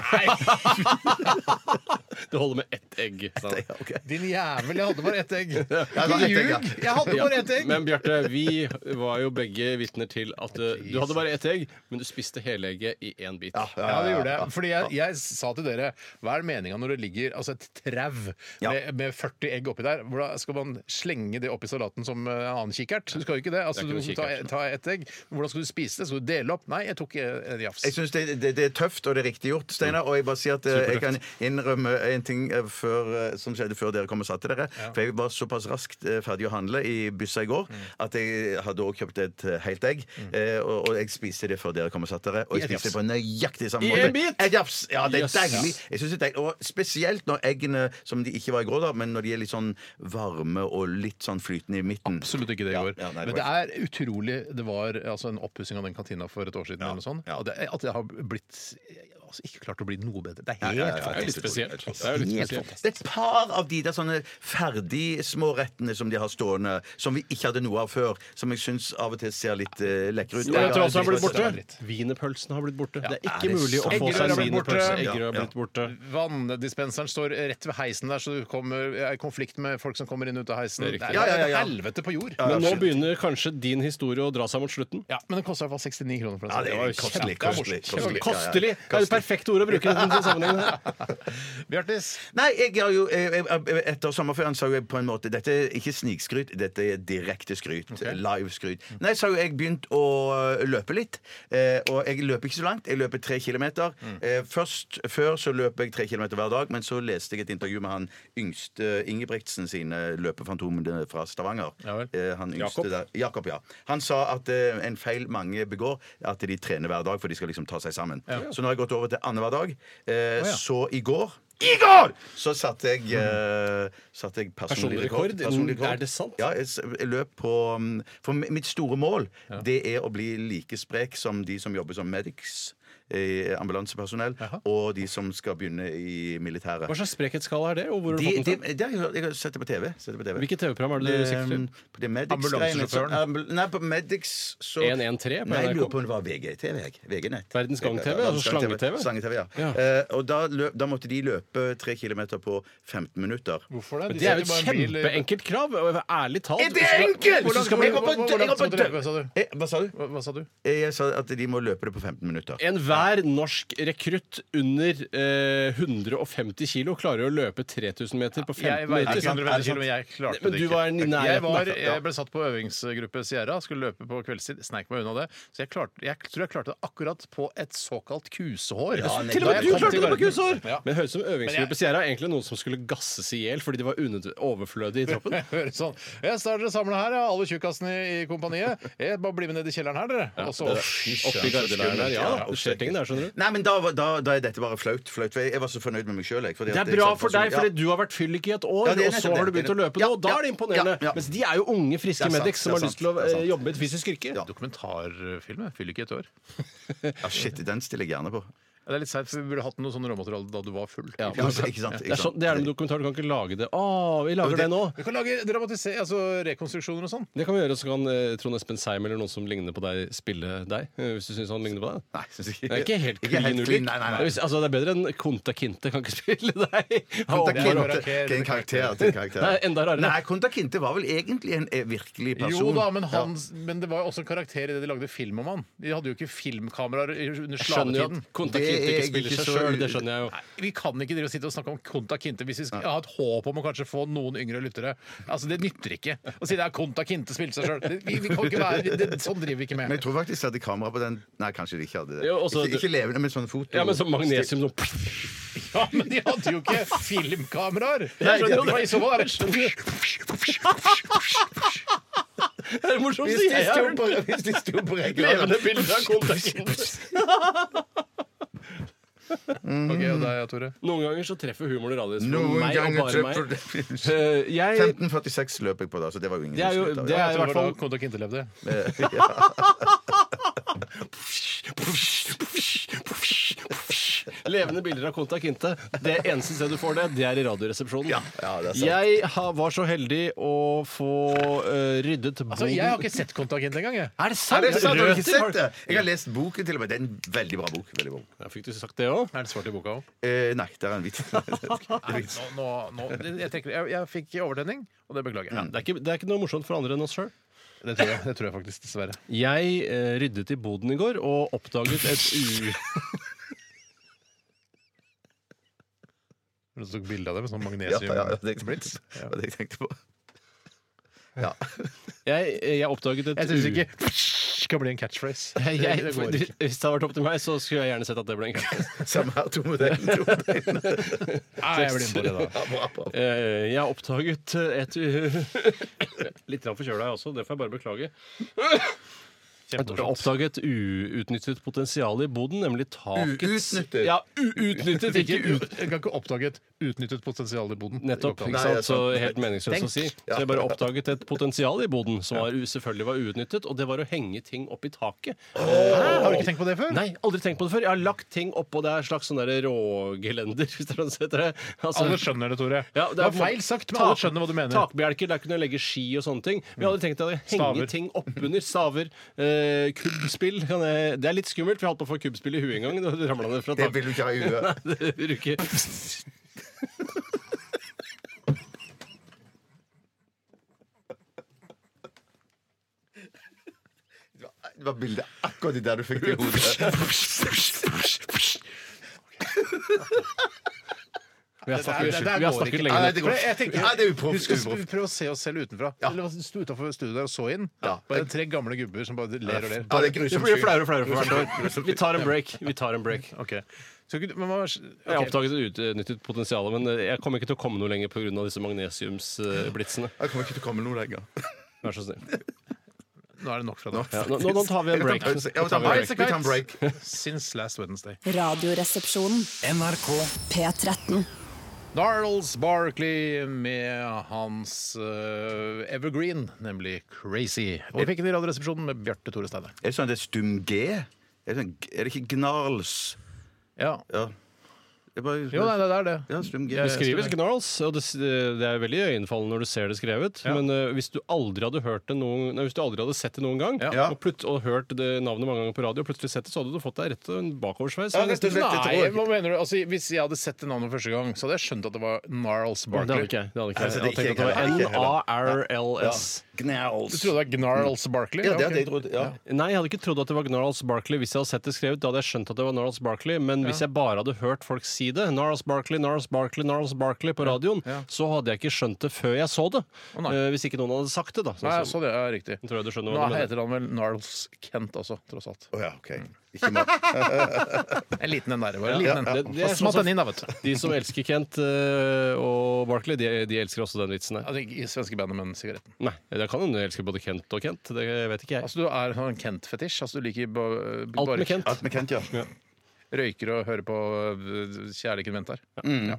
Det holder med ett egg. sa han.
[LAUGHS] Ja, ok.
Din jævel, jeg hadde bare ett egg.
det var
Ikke
ett egg,
ljug!
ja.
Jeg hadde bare ett egg.
Men Bjarte, vi var jo begge vitner til at eh, du hadde bare ett egg, men du spiste hele egget i én bit.
Ja, det gjorde jeg. Fordi jeg, jeg sa til dere Hva er meninga når det ligger altså et trau
Ja.
med, med 40 egg oppi der? Hvordan skal man slenge det oppi salaten som eh, en annen kikkert? Du skal jo ikke det. Altså,
Det er
du
ikke
må ta,
noe kikkert,
ta ett egg. Hvordan skal du spise det? Skal du dele opp? Nei, jeg tok eh, en jafs.
Jeg syns det, det, det er tøft, og det er riktig gjort, Steinar.
Mm.
Og jeg bare sier at eh, jeg kan innrømme en ting eh, før, eh, som skjedde før dere kom og satte dere. For jeg var såpass raskt eh, ferdig å handle i byssa i
Mm.
går at jeg hadde også kjøpt et eh, helt egg. eh, Og, og jeg spiste det før dere kom og satte dere. Og
I et
jeg spiste det
jafs.
på nøyaktig samme
I
måte.
en bit?
Et jafs! Ja, det er
Yes.
deilig. Jeg synes det er deilig. Og spesielt når eggene, som de ikke var i går, da, men når de er litt sånn varme og litt sånn flytende i midten.
Absolutt ikke det i
Ja,
går.
ja, nei, det
Men det
var
er utrolig Det var altså, en oppussing av den kantina for et år siden. eller noe sånt.
ja.
Og det, at jeg har blitt altså, ikke klart å bli noe bedre. Det er
Nei,
helt
ja, ja, ja,
Det er litt spesielt. Det er jo litt
Helt
spesielt.
fantastisk. Det er et par av de der sånne ferdig smårettene som de har stående, som vi ikke hadde noe av før, som jeg syns av og til ser litt uh, lekre ut.
Og vet du hva som har blitt
Det
borte?
er dritt.
Wienerpølsen har blitt borte. Det er
er
ikke
det
mulig å
sant?
få
Eggerøre
seg
har blitt borte.
wienerpølse.
Ja,
Eggerøre har
ja.
blitt borte.
Vanndispenseren står rett ved heisen der, så du kommer, er i konflikt med folk som kommer inn og ut av heisen.
Det er riktig.
Det er,
Ja, ja, ja, ja.
helvete på jord.
Ja,
Men nå
absolutt.
begynner kanskje din historie å dra seg mot slutten.
Ja, men det kosta i hvert fall 69 kroner for den.
Ja, det
saken.
var kostelig,
kjempe-
kostelig, kostelig.
kjempekostelig.
Kostelig! Det er jo
Kostelig.
perfekte ord å bruke i
[LAUGHS]
denne sammenhengen. her.
Bjartis,
Nei, jeg har jo eh, jeg, jeg, Etter sommerferien sa jo jeg på en måte Dette er ikke snikskryt, dette er direkte skryt. Live skryt.
Mm.
Nei, så har jo jeg begynt å løpe litt. Eh, og jeg løper ikke så langt. Jeg løper tre kilometer.
Mm.
Eh, først, før så løp jeg tre kilometer hver dag, men så leste jeg et intervju med han yngste Ingebrigtsen sine løpefantomene fra Stavanger.
Ja vel.
Eh, han yngste
Jakob?
der. Jakob, ja. Han sa at eh, en feil mange begår, er at de trener hver dag, for de skal liksom ta seg sammen. Så nå har jeg gått over til annenhver dag. Eh, Så i går i går! Så satte jeg, eh, satte jeg personlig,
Personlig
rekord.
rekord? mm, Er det sant?
Ja, jeg, s- jeg løp på mm, For mi- mitt store mål det er å bli like sprek som de som jobber som medics, eh, ambulansepersonell, og de som skal begynne i militæret.
Hva slags sprekhetskala er det? Og hvor har du
De,
fått
de,
den fra?
det har jeg, hørt- jeg har sett det på TV. Sett det på TV.
Hvilket TV-program er det du sikter til?
Eh, på det Medics-
Ambulansesjåføren.
greiene, så- ambul- Nei, på Medics så
113
Nei,
på
jeg
NRK.
lurer på om det var VGTV. jeg. VG-nett.
Verdens Gang-TV, altså
Verdens Gang-TV.
slange-TV.
Slange-TV, ja.
Ja.
Eh, og da, løp, da måtte de løpe tre kilometer på 15 minutter.
hvorfor det?
Men det er jo et kjempeenkelt krav. og Ærlig talt.
Er det
hvis du skal-
enkelt?
hvis du skal
Jeg går på-
bli-
jeg går på-
Hva sa du?
Eh, hva sa du?
Hva, hva sa du?
Eh, Jeg sa at de må løpe det på 15 minutter.
Enhver norsk rekrutt under eh, 150 kilo klarer å løpe 3000 meter på 15
Jeg veier
minutter.
ikke 150 kilo, men
men
jeg klarte
Men
det
du
ikke.
var i nærheten
jeg, var,
da.
jeg ble satt på øvingsgruppe Sierra, skulle løpe på kveldstid. Sneik meg unna det. Så jeg, klarte, jeg tror jeg klarte det akkurat på et såkalt kusehår.
nei,
Til og
da
med
jeg
du
kom
klarte
til
det på
verden.
kusår!
Ja.
Men det høres ut som
Men jeg-
øvingsgruppe Sierra er egentlig noen som skulle gasses i hjel fordi de var unød- overflødige
[LAUGHS]
i troppen.
[LAUGHS] Høres sånn. Yes, da er dere samla her, ja, alle tjukkasene i kompaniet. Jeg bare bli med ned i kjelleren her, dere. Og så
Oppi gardeleiren der. Ja,
Ja,
det skjer ting der, skjønner du.
Nei, men da, var- da, da er dette bare flaut. flaut for jeg, jeg var så fornøyd med meg sjøl.
Det er bra for deg, fordi du har vært fyllik i et år,
Ja, det er
og så
nettopp
har du
det.
begynt
Det
å
er
løpe nå.
nettopp-
Da
Ja,
er det
ja,
imponerende.
ja.
Mens de er jo unge, friske
Det er sant,
medics som
det
har
er
lyst til å
sant, det er
eh,
sant.
jobbe med et fysisk yrke.
Ja.
Dokumentarfilm? Fyller ikke et år.
ja, Shit, den stiller jeg gjerne på.
Ja, Det er litt seigt, for vi burde hatt noe sånn råmateriale da du var full.
Ja, ikke sant,
Det
ikke
er, sånn,
sant.
det er det med dokumentar. Du kan ikke lage det. Å, vi lager det nå!
Vi kan lage dramatisering, altså rekonstruksjoner og sånn.
Det kan vi gjøre, så kan eh, Trond Espen Seim eller noen som ligner på deg, spille deg. eh, Hvis du syns han ligner på deg.
Nei, synes jeg
Det er ikke helt
Ikke
klin ulik.
Nei, nei,
Det er
nei.
hvis- Altså, det er bedre enn Konta Kinte kan ikke [LAUGHS] spille deg.
Konta
Håvard
Kinte.
og-
Håvard Aker.
Det er en karakter. Det er en karakter.
Nei, enda rarere.
Nei, Konta Kinte var vel egentlig en eh, virkelig person.
Jo da, men,
Ja.
han, men det var jo også en karakter i det de lagde film om han. De hadde jo ikke filmkameraer i- under
Jeg skjønner jo
slavetiden.
at Konta
Det er
Kinte ikke spiller
ikke
seg
så-
sjøl, det skjønner jeg jo.
Nei, Vi kan ikke drive og sitte og snakke om Konta Kinte hvis vi skal ha et håp om å kanskje få noen yngre lyttere. Altså, Det nytter ikke å si det er Konta Kinte spilte seg sjøl. Vi, vi kan ikke være, det, sånn driver vi ikke
Men jeg
med.
tror faktisk de hadde kamera på den. Nei, kanskje de ikke hadde det.
Jo, også-
ikke, ikke levende, men sånn foto.
Ja, men som magnesium sånn
Ja, Men de hadde jo [LAUGHS] ikke filmkameraer!
Jeg skjønner jo det.
I så fall er [LAUGHS] det
Det er det
Hvis
morsomste
de
jeg har
sto
hørt!
[LAUGHS]
på, hvis de sto på regler
Levende bilder av Konta Kinte.
Ok, og deg, Tore.
Noen ganger så treffer humoren og radioen
Noen
meg og
ganger
bare
trøppel
meg. Eh, Jeg
1546 løp jeg på da, så det var jo ingen
Det er jo-
husket av,
det
ja.
Jeg
er- i
tror
hvert
det var
fall-
da Konta Kinte levde.
Levende bilder av Konta Kinte. Det eneste stedet du får det, det er i Radioresepsjonen.
ja, det er sant.
jeg har, var så heldig å få eh, ryddet boden
Altså, Jeg har ikke sett Konta Kinte engang. jeg.
Er det
Nei,
sant?
det er sant, jeg har ikke
Rødhette
sett
folk-
det. Jeg har lest boken til og med. Det er en veldig bra bok. Veldig bra. bok.
Ja, fikk du sagt det òg?
Er det svart i boka òg?
Eh, nei, det er en
[LAUGHS]
vits. Det er en vits.
Nå, nå, nå, jeg, trekker, jeg, jeg fikk overtenning, og det beklager jeg.
Det, er ikke- det er ikke noe morsomt for andre enn oss sjøl.
Det tror jeg, det tror jeg faktisk, dessverre.
Jeg eh, ryddet i boden i går og oppdaget et
[LAUGHS]
u...
Du tok bilde av det med sånn
Ja, ja, ja, det
magnesiumblits.
det var det jeg tenkte på. Ja.
Jeg, eh, jeg oppdaget et
Jeg syns
u-
ikke skal bli en [LAUGHS] catchphrase.
Jeg,
Det- det går
[LAUGHS] hvis
ikke.
det hadde vært opp til meg, så skulle jeg gjerne sett at det ble en
[LAUGHS]
karakter.
Samme her, to modeller. To modeller.
Nei, Ah, jeg blir med på det, da.
Ja, bra, bra.
Eh, Jeg har oppdaget et u- [LAUGHS] Litt grann forkjøla jeg også, det får jeg bare beklage. Jeg har
Kjempemorsomt.
oppdaget uutnyttet potensial i boden, nemlig takets
Uutnyttet?
Ja, uutnyttet, ikke ut...
Jeg kan ikke oppdage et utnyttet potensial i boden.
Nettopp.
Nei,
ikke
det er
sant? Så
sant.
helt meningsløst å si. Så jeg bare oppdaget et potensial i boden som var, selvfølgelig var uutnyttet, og det var å henge ting opp i taket.
Hæ? Har du ikke tenkt på det før?
Nei, aldri tenkt på det før. Jeg har lagt ting oppå det er en slags sånn der rågelender, [LAUGHS] hvis det er noe som heter det. Altså-
Alle skjønner det, Tore.
Ja,
det, var feil sagt, men alle skjønner hva du mener.
Takbjelker, der kunne jeg legge ski og sånne ting. Vi hadde tenkt å henge
Staver.
ting oppunder. Staver. Eh, kubbspill. kan jeg- Det er litt skummelt, for jeg holdt på å få kubbspill i huet en gang. Da ramla det fra
Det
taket.
vil du ikke ha i huet.
[LAUGHS] Nei, det vil du ikke.
[LAUGHS] Det var bildet akkurat i der du fikk det i hodet.
Vi har snakket,
det der
vi har
går
snakket
ikke.
lenge
Nei,
nok.
det går ikke.
Jeg tenker-
Nei, det er upro-
Husk å
uproft.
prøve å se oss selv utenfra. Eller stå utenfor studioet der og så inn. Bare tre gamle gubber som bare ler og ler.
Ja, det er
Det
grusomt.
blir flauere og flauere for hvert år. Vi tar en break. Vi tar en break.
Skal ikke du- men hva-
Jeg
ok.
oppdaget et utnyttet potensial, men jeg kommer ikke til å komme noe lenger pga. disse magnesiumsblitsene.
Jeg kommer ikke til å komme noe lenger.
Vær så snill.
Nå er det nok fra deg.
Ja, nå, nå nå tar vi en break.
Jeg
Nå
må ta
tar
en
vi en
break.
break.
Vi tar en break.
Since last Wednesday.
Radioresepsjonen.
NRK
P13.
Darles Barkley med hans eh, evergreen, nemlig Crazy. Og vi fikk den i Radioresepsjonen med Bjarte Tore Steine.
Er det sånn at det er stum G? Er det, sånn, er det ikke gnarls?
Ja.
Ja. Det er bare,
Jo, nei, det er det.
ja, stum G.
Det skrives gnarls, og det, det er veldig øyenfallende når du ser det skrevet. Men eh, hvis du aldri hadde hørt det noen, nei, hvis du aldri hadde sett det noen gang,
Ja.
og, plutt, og hørt det navnet mange ganger på radio, og plutselig sett det, så hadde du fått deg rett og en bakoversveis.
Ja, rett og slett.
Nei, hva mener du? Altså, hvis jeg hadde sett det navnet første gang, så hadde jeg skjønt at det var Narls
Det hadde
Barkley.
ikke jeg. Det hadde ikke
Nei, så
jeg.
det
jeg.
ikke
hadde
jeg
tenkt at det
heller.
var N-A-R-L-S.
Du
Gnarls.
trodde det var Gnarls Barkley?
Mm. Ja, det
ok.
hadde jeg trodd. Ja.
Nei, jeg hadde ikke trodd at det var Gnarls Barkley hvis jeg hadde sett det skrevet. Da hadde jeg skjønt at det var Gnarls Barkley, men hvis jeg bare hadde hørt folk si det, Gnarls Barkley, Gnarls Barkley, Gnarls Barkley på radioen, så hadde jeg ikke skjønt det før jeg så det.
nei.
Eh, hvis ikke noen hadde sagt det, da.
Nei,
Sånn som-
så det er riktig.
tror jeg du skjønner
Nå
hva du mener.
heter han vel Narls Kent også, tross alt.
Å ja, OK. [LAUGHS] Ikke mer.
En liten en der, bare. En liten en.
Det- det er
Få smatt
sånn som-
den inn, da, vet du.
De som elsker Kent eh, og Barkley, de, de elsker også den vitsen her.
Altså, ikke i svenske bandet, men sigaretten.
Nei, det kan hende du elsker både Kent og Kent. Det vet ikke jeg.
Altså, du er en Kent-fetisj? Altså, du liker ba-
Alt
bare
med Kent.
Alt med Kent, ja.
røyker og hører på øh, Kjærligheten venter.
Mm.
Ja.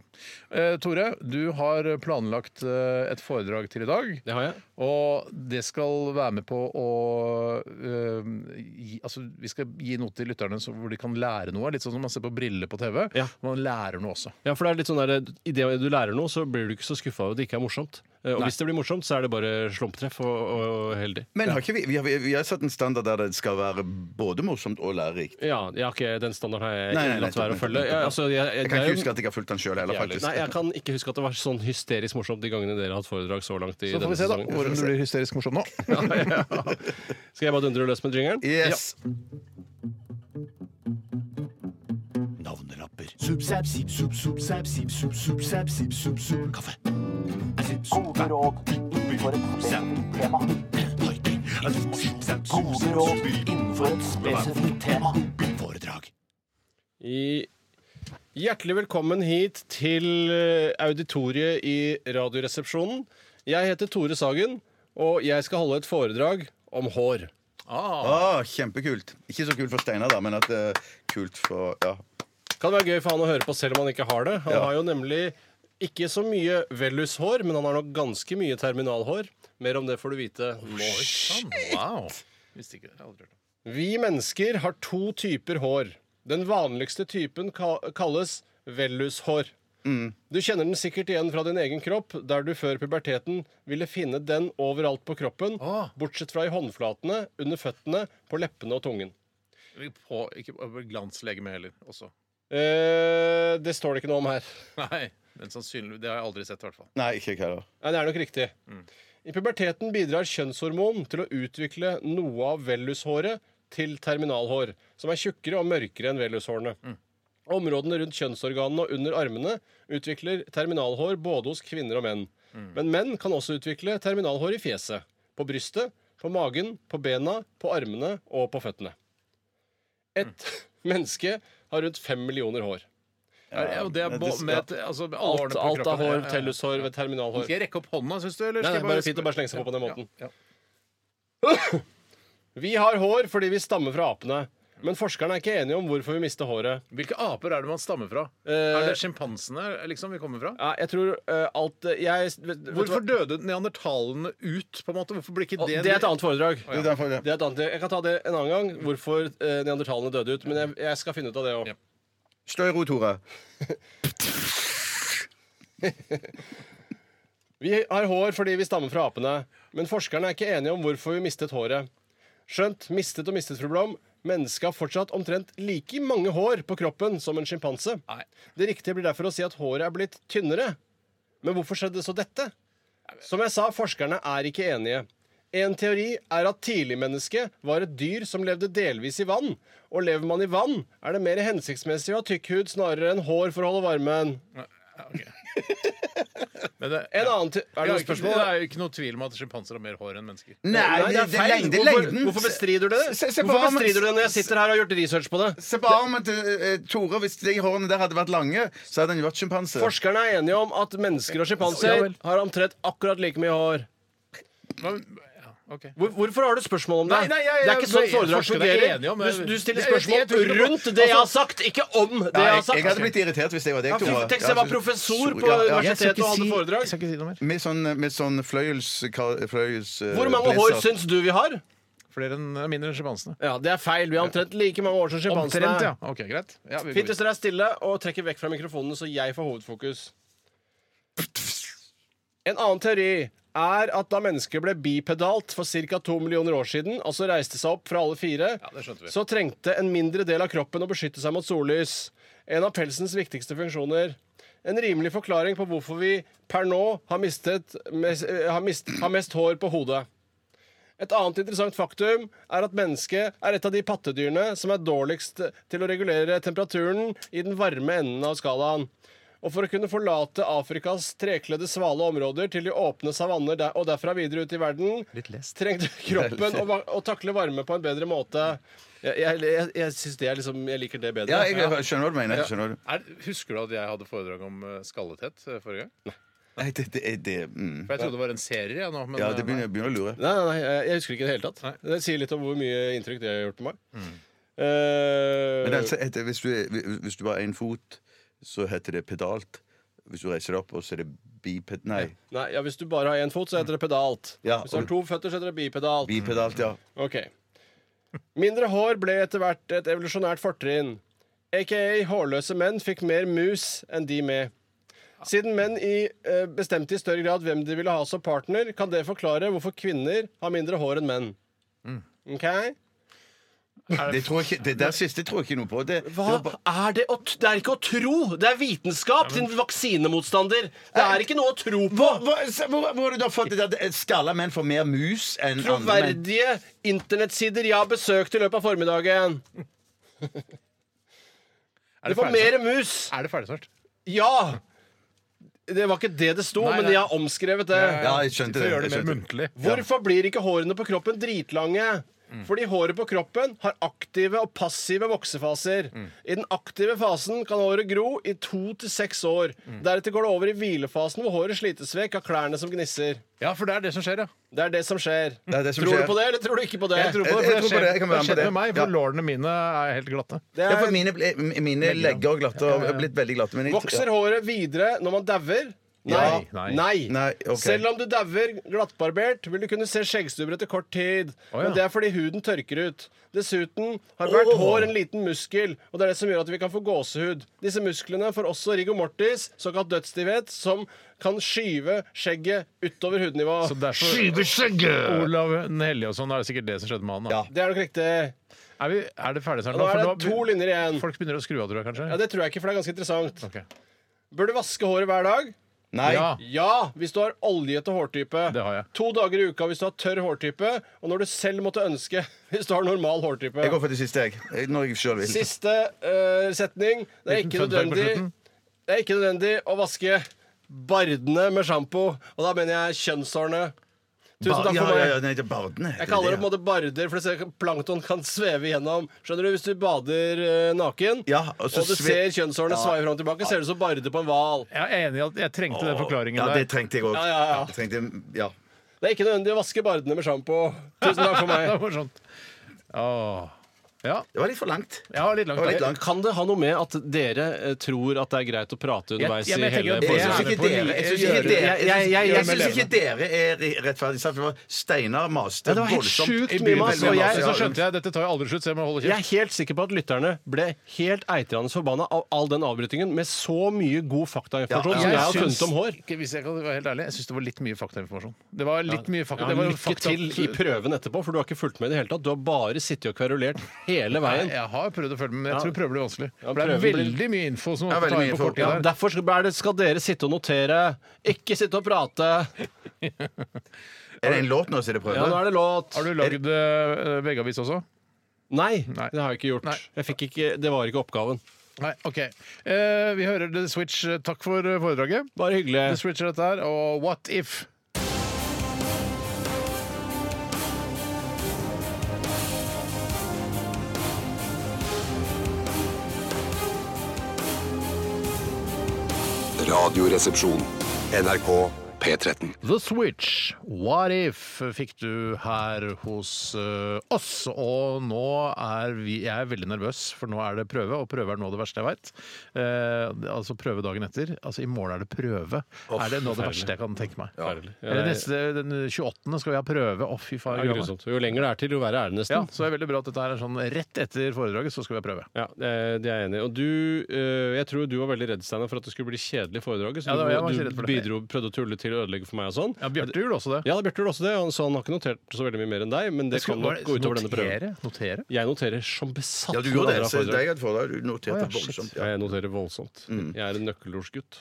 Eh, Tore, du har planlagt eh, et foredrag til i dag.
Det har jeg.
Og det skal være med på å øh, gi, Altså, vi skal gi noe til lytterne så, hvor de kan lære noe. Litt sånn som man ser på briller på TV.
Ja.
Man lærer noe også.
Ja, for det er litt sånn der, I det du lærer noe, så blir du ikke så skuffa over at det ikke er morsomt. Eh, Og hvis det blir morsomt, så er det bare slumptreff og, og heldig.
Men har ikke vi, vi, har, vi har satt en standard der det skal være både morsomt og lærerikt.
Ja, jeg har ikke, den standarden har jeg
Nei, nei, nei,
latt være å
nettopp,
følge.
nettopp,
Jeg, altså, jeg, jeg,
Jeg kan
det er jo-
ikke huske at jeg har fulgt den sjøl heller, faktisk.
Nei, jeg kan ikke huske at det var sånn hysterisk morsomt de gangene dere har hatt foredrag så langt i
Så får
denne
vi se da
sesongen. [LAUGHS]
hvordan du blir hysterisk morsom nå.
Skal jeg bare dundre løs med jingeren?
Yes.
Navnelapper. Kaffe. Gode råd innenfor et spesifikt tema. Gode råd innenfor et spesifikt tema. Foredrag.
I Hjertelig velkommen hit til eh, auditoriet i Radioresepsjonen. Jeg heter Tore Sagen, og jeg skal holde et foredrag om hår.
Ah, kjempekult. Ikke så kult for Steinar, da, men at det er kult for Ja.
Kan være gøy for han å høre på selv om han ikke har det. Han
Ja.
har jo nemlig ikke så mye vellushår, men han har nok ganske mye terminalhår. Mer om det får du vite nå.
Sånn, wow. Visste ikke det. Jeg har aldri hørt om.
Vi mennesker har to typer hår. Den vanligste typen ka kalles vellushår. Du kjenner den sikkert igjen fra din egen kropp, der du før puberteten ville finne den overalt på kroppen,
Åh.
bortsett fra i håndflatene, under føttene, på leppene og tungen.
Vi På, ikke på glanslegeme heller også.
Eh, det står det ikke noe om her.
Nei, men sannsynlig, det har jeg aldri sett, i hvert fall.
Nei, ikke jeg heller.
Nei, det er nok riktig.
Mm.
I puberteten bidrar kjønnshormon til å utvikle noe av vellushåret til terminalhår, som er tjukkere og mørkere enn vellushårene.
Mm.
Områdene rundt kjønnsorganene og under armene utvikler terminalhår både hos kvinner og menn.
Mm.
Men menn kan også utvikle terminalhår i fjeset, på brystet, på magen, på bena, på armene og på føttene. Et
Mm.
menneske har rundt fem millioner hår.
Ja, og det er
men
bo,
det-
med, et- altså, med alle hårene
Alt,
på
alt av
kroppen.
hår,
Ja, ja, ja.
tellushår, terminalhår.
Skal jeg rekke opp hånda, syns du? Eller
Nei,
skal
nei,
jeg
bare fint å bare slenge seg på på den
Ja,
måten.
ja.
Vi har hår fordi vi stammer fra apene. Men forskerne er ikke enige om hvorfor vi mister håret.
Hvilke aper er det man stammer fra?
Eh,
er det sjimpansene liksom, vi kommer fra?
Ja, jeg tror eh, alt jeg, vet, vet du
Hvorfor
hva?
døde neandertalene ut? på en måte? Hvorfor blir ikke
Å,
det
Det er et annet foredrag.
Det er derfor, ja.
Det er et annet, jeg kan ta det en annen gang, hvorfor eh, neandertalene døde ut. Men jeg, jeg skal finne ut av det òg.
Ja.
Stå i ro, Tore.
Vi har hår fordi vi stammer fra apene. Men forskerne er ikke enige om hvorfor vi mistet håret. Skjønt mistet og mistet, fru Blom. Mennesket har fortsatt omtrent like mange hår på kroppen som en sjimpanse.
Nei.
Det riktige blir derfor å si at håret er blitt tynnere. Men hvorfor skjedde så dette? Som jeg sa, forskerne er ikke enige. En teori er at tidligmennesket var et dyr som levde delvis i vann. Og lever man i vann, er det mer hensiktsmessig å ha tykk hud snarere enn hår for å holde varmen.
Men det,
En annen te er
er det,
det noe
ikke, det
spørsmål?
er jo ikke noe tvil om at sjimpanser har mer hår enn mennesker.
Nei, det er
feil.
lengde,
hvorfor,
lengden.
hvorfor bestrider du det?
Se- se på
hvorfor
armen.
bestrider du det når jeg sitter her og har gjort research på det?
Se på armen til eh, Tore. Hvis de hårene der hadde vært lange, så hadde han jo vært sjimpanse.
Forskerne er enige om at mennesker og sjimpanser har omtrent akkurat like mye hår.
Men- ja, ok.
Hvor, hvorfor har du spørsmål om det?
Nei, nei, jeg-
det er ikke
jeg-
sånn
jeg-
foredrag
forskere er
fungerer.
enige om-
Du, du stiller
Jeg- jeg-
spørsmål
jeg tror ikke på-
rundt det jeg
Altså-
har sagt, ikke om det jeg har
Jeg hadde
sagt.
blitt irritert hvis jeg var deg,
Ja,
Tore.
altså- Tenk hvis jeg var professor på universitetet og hadde
jeg
foredrag.
skal ikke si noe mer.
Med sånn, med sånn fløyels... ka- fløyels eh,
Hvor mange
blazer.
hår syns du vi har?
Flere enn eh, mindre enn sjimpansene.
Ja, Det er feil. Vi har omtrent like mange år som
Omtrent, ja.
sjimpansene.
Ok, greit. Ja, vi går
Fint
videre.
hvis dere er stille og trekker vekk fra mikrofonene, så jeg får hovedfokus. En annen teori er at da mennesket ble bipedalt for ca. to millioner år siden, altså reiste seg opp fra alle fire,
det skjønte vi.
så trengte en mindre del av kroppen å beskytte seg mot sollys. En av pelsens viktigste funksjoner. En rimelig forklaring på hvorfor vi per nå har, mistet, mes- eh, har, mist, har mest hår på hodet. Et annet interessant faktum er at mennesket er et av de pattedyrene som er dårligst til å regulere temperaturen i den varme enden av skalaen. Og for å kunne forlate Afrikas trekledde svale områder til de åpne savanner der, og derfra videre ut i verden, trengte [LAUGHS] kroppen å, va- å takle varme på en bedre måte. Jeg, jeg, jeg, jeg synes det er liksom, jeg liker det bedre.
Ja, jeg, jeg skjønner hva du mener. Jeg skjønner. hva du-
Er, husker du at jeg hadde foredrag om eh, skalletett eh, forrige gang?
Nei, det, det, det, mm.
For jeg trodde det var en serie jeg, nå. Men,
Ja,
eh,
det
nei.
begynner, begynner å lure.
Nei, nei, nei, jeg- jeg husker ikke i det hele tatt. Det sier litt om hvor mye inntrykk det har gjort på meg. Eh,
Mm. Men altså, etter, hvis, du, er- hvis du bare har én fot, så heter det pedalt. Hvis du reiser deg opp, og så er det biped... Nei,
Nei, ja, Hvis du bare har én fot, så heter det pedalt.
Ja,
hvis du har
og-
to føtter, så heter det bipedalt.
bipedalt, ja.
Ok Mindre hår ble etter hvert et evolusjonært fortrinn. Aka hårløse menn fikk mer mus enn de med. Siden menn i, eh, bestemte i større grad hvem de ville ha som partner, kan det forklare hvorfor kvinner har mindre hår enn menn.
Mm.
Ok?
Det, tror jeg ikke, det der siste tror jeg ikke noe på. Det, det var
Hva
bare-
er det å t- Det er ikke å tro! Det er vitenskap, din vaksinemotstander! Det er ikke noe å tro på!
Hva- hva- hvor, hvor har du da fått det der? Skalla menn får mer mus enn andre menn?
Troverdige internettsider jeg har besøkt i løpet av formiddagen.
Er
Du
det
får
ferdig
mer
snart?
mus!
Er det ferdig snart?
Ja! Det var ikke det det sto,
Nei,
men
nei.
jeg har omskrevet det.
Ja, jeg skjønte det.
Gjør det
Jeg
mer
skjønte.
muntlig.
Hvorfor blir ikke hårene på kroppen dritlange?
Mm.
Fordi håret på kroppen har aktive og passive voksefaser.
Mm.
I den aktive fasen kan håret gro i to til seks år.
Mm.
Deretter går det over i hvilefasen, hvor håret slites vekk av klærne som gnisser.
Ja, for det er det som skjer, ja.
Det er det som skjer.
er det som
tror
skjer.
du på det, eller tror du ikke på det?
Jeg tror på
Jeg- jeg
det, for det
tror på det,
skjer-
jeg kan
det
være med på
skjer
det.
med meg, for
Ja.
lårene mine er helt glatte.
Det
Ja, for
er-
mine, ble- mine legger og glatter har blitt veldig glatte. Men jeg,
Vokser håret videre når man dauer? Nei.
Ja. Nei.
Nei, ok.
Selv om du dauer glattbarbert, vil du kunne se skjeggstubber etter kort tid.
Å, ja.
Men det er fordi huden tørker ut. Dessuten har hvert hår en liten muskel, og det er det som gjør at vi kan få gåsehud. Disse musklene får også rigor mortis, såkalt dødsstivhet, som kan skyve skjegget utover hudnivå.
Så derfor Olav den hellige og sånn, er det sikkert det som skjedde med han. Da.
Det er nok riktig.
Er, vi, er det ferdig snart?
Nå
For
er det to linjer igjen.
Folk begynner å skru av, tror jeg kanskje.
Ja, Det tror jeg ikke, for det er ganske interessant.
Ok.
Bør du vaske håret hver dag?
Nei.
Ja.
Ja, hvis du har oljete hårtype.
Det har jeg.
To dager i uka hvis du har tørr hårtype, og når du selv måtte ønske [LAUGHS] hvis du har normal hårtype.
Jeg går for det siste, jeg. jeg. Når jeg sjøl vil.
Siste eh, setning. Det er,
Liten
ikke
fun fact på
nødvendig,
slutten.
det er ikke nødvendig å vaske bardene med sjampo, og da mener jeg kjønnshårene. Tusen takk
ja,
for meg.
ja, ja, nei, det er barden heter
Jeg kaller det på en
ja.
måte barder, for det ser- plankton kan sveve igjennom. Skjønner du, Hvis du bader eh, naken,
Ja, og
og,
så
du
sve-
ser kjønnshårene sveive fram og tilbake, ser det ut som barder på en hval.
Jeg er enig i at jeg trengte den forklaringen
Ja, det
der.
trengte jeg òg.
Ja, ja, ja.
ja.
Det er ikke nødvendig å vaske bardene med sjampo. Tusen takk for meg.
[LAUGHS] Det var sånn. Åh. Ja,
Det var litt for langt.
jeg har litt langt.
Det var litt
da.
langt.
Kan det ha noe med at dere eh, tror at det er greit å prate underveis
ja, men jeg
i hele
tenker at det
Jeg syns
er-
foredraget?
ikke dere Jeg synes ikke dere-
Jeg- jeg- jeg-
jeg synes ikke dere er rettferdig satt. for Steinar maste
Ja, det var helt
voldsomt.
sjukt
Jeg
mye
blir
mas,
veldig
og jeg-
maset,
Så
ja.
skjønte jeg dette tar jo aldri slutt, så jeg må holde
Jeg
kjeft.
er helt sikker på at lytterne ble helt eitrende forbanna av all den avbrytingen med så mye god faktainformasjon
Ja,
som jeg har
syns-
funnet om hår.
Ikke, hvis jeg kan være helt ærlig, jeg syns det var litt mye faktainformasjon. Det var litt mye fakta.
Ja,
det var jo
lykke
fakta-
til i prøven etterpå, for du har ikke fulgt med i det hele tatt. Du har bare sittet og kverulert hele veien.
Nei, Jeg har prøvd å følge med, men jeg tror prøver blir vanskelig.
Ja,
For det er
prøven blir-
veldig mye info som
Ja,
må
veldig
ta
mye
inn på
info.
kort tid
Ja,
her.
derfor skal, er det, skal dere sitte og notere, ikke sitte og prate.
Er det en låt nå som dere prøver?
Ja, nå er det låt.
Har du lagd eh, veggavis også?
Nei,
Nei.
det har jeg ikke gjort.
Nei.
Jeg fikk ikke, det var ikke oppgaven.
Nei, OK. Eh, vi hører The Switch. Takk for eh, foredraget.
Bare
The
hyggelig.
Switch er dette her, og What If?
Radioresepsjon. NRK P13.
The Switch, What If, fikk du her hos eh, oss. Og nå er vi Jeg er veldig nervøs, for nå er det prøve, og prøve er nå det verste jeg veit. altså prøve dagen etter. Altså i morgen er det prøve. er det nå det verste jeg kan tenke meg?
Forferdelig. Ja,
Eller
det-
neste, den 28. skal vi ha prøve. Å, fy faen. jeg
Det er
gruer meg.
grusomt. Jo lenger det er til, jo verre er
Ja,
det nesten.
så det er veldig bra at dette her er sånn rett etter foredraget, så skal vi ha prøve.
Ja, det er det er jeg enig i. Og du, eh, jeg tror du var veldig redd Steiner, for at det skulle bli kjedelig foredraget.
Ja,
Så
det var- jeg var
du,
ikke
du
redd for det.
bidro, prøvde å tulle til å ødelegge for meg og sånn.
Ja, Bjarte gjorde også det.
Ja, Bjarte gjorde også det, og så han har ikke notert så veldig mye mer enn deg. Men det kan nok gå utover denne prøven.
notere, notere.
Jeg noterer som besatt.
Ja, du
når
gjorde
andre
det.
har
Så
foredrag.
det jeg Mm. hadde foredrag, du
Å, ja,
noterte voldsomt.
shit.
Ja.
Ja, jeg noterer voldsomt. Jeg er en nøkkelordsgutt.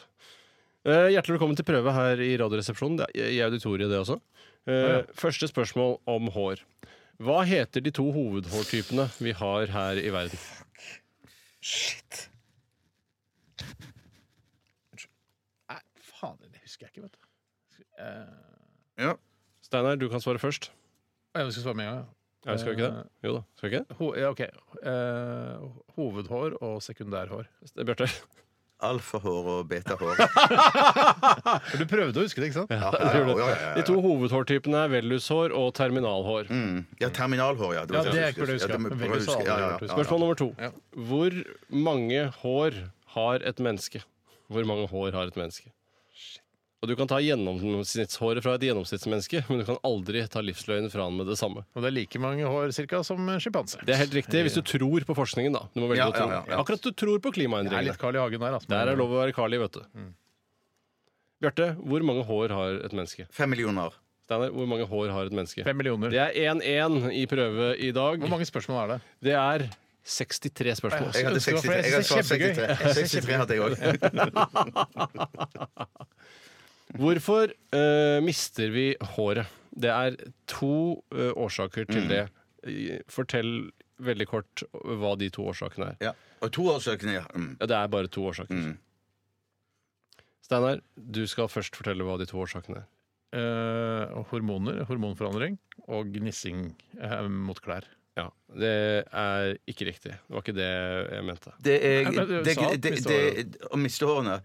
Eh, hjertelig velkommen til prøve her i Radioresepsjonen. Det er I auditoriet, det også. Eh, Første spørsmål om hår. Hva heter de to hovedhårtypene vi har her i verden?
Nei, faen, det husker jeg ikke, vet du.
Ja.
Steinar, du kan svare først.
Jeg skal svare med en gang. ja.
Nei, skal vi ikke det? Jo da. Skal vi ikke det?
Ho ja, ok. Eh, hovedhår og sekundærhår.
Ste- Bjarte?
Alfahår og betahår.
For du prøvde å huske det, ikke sant?
Ja, ja, ja, ja, ja,
De to hovedhårtypene er vellushår og terminalhår.
Mm. Ja, terminalhår, ja.
Ja, det er ikke det jeg husker.
Ja, må
Men
prøve å
veldig
huske. Ja, ja,
salg,
ja.
Spørsmål nummer to.
Ja.
Hvor mange hår har et menneske? Hvor mange hår har et menneske? Og Du kan ta gjennomsnittshåret fra et gjennomsnittsmenneske, men du kan aldri ta livsløgnen fra han med det samme.
Og det er like mange hår cirka som sjimpanse.
Det er helt riktig hvis du tror på forskningen, da. Du må velge
Ja,
å tro.
ja, ja, ja.
Akkurat du tror på
Det er
klimaendringene.
litt Carl I. Hagen der, altså.
Der er lov å være Carl i, vet du.
Mm.
Bjarte, hvor mange hår har et menneske?
Fem millioner.
Steinar, hvor mange hår har et menneske?
Fem millioner.
Det er 1-1 i prøve i dag.
Hvor mange spørsmål er det?
Det er 63 spørsmål.
Jeg hadde
ønsker meg, for
63.
jeg
Jeg hadde
synes
svart
det er kjempegøy.
[LAUGHS] 63. 63 hadde jeg òg.
Hvorfor eh, mister vi håret? Det er to eh, årsaker
Mm.
til det. Eh, Fortell veldig kort hva de to årsakene er.
Ja. Og to årsøkende, ja. Mm.
Ja, det er bare to årsaker.
Mm.
Steinar, du skal først fortelle hva de to årsakene er.
Eh, hormoner, hormonforandring og gnissing eh, mot klær.
Ja, Det er ikke riktig. Det var ikke det jeg mente.
Det er
Nei, men du
det,
sa
det,
at
det,
mistehårene-
Å miste hårene.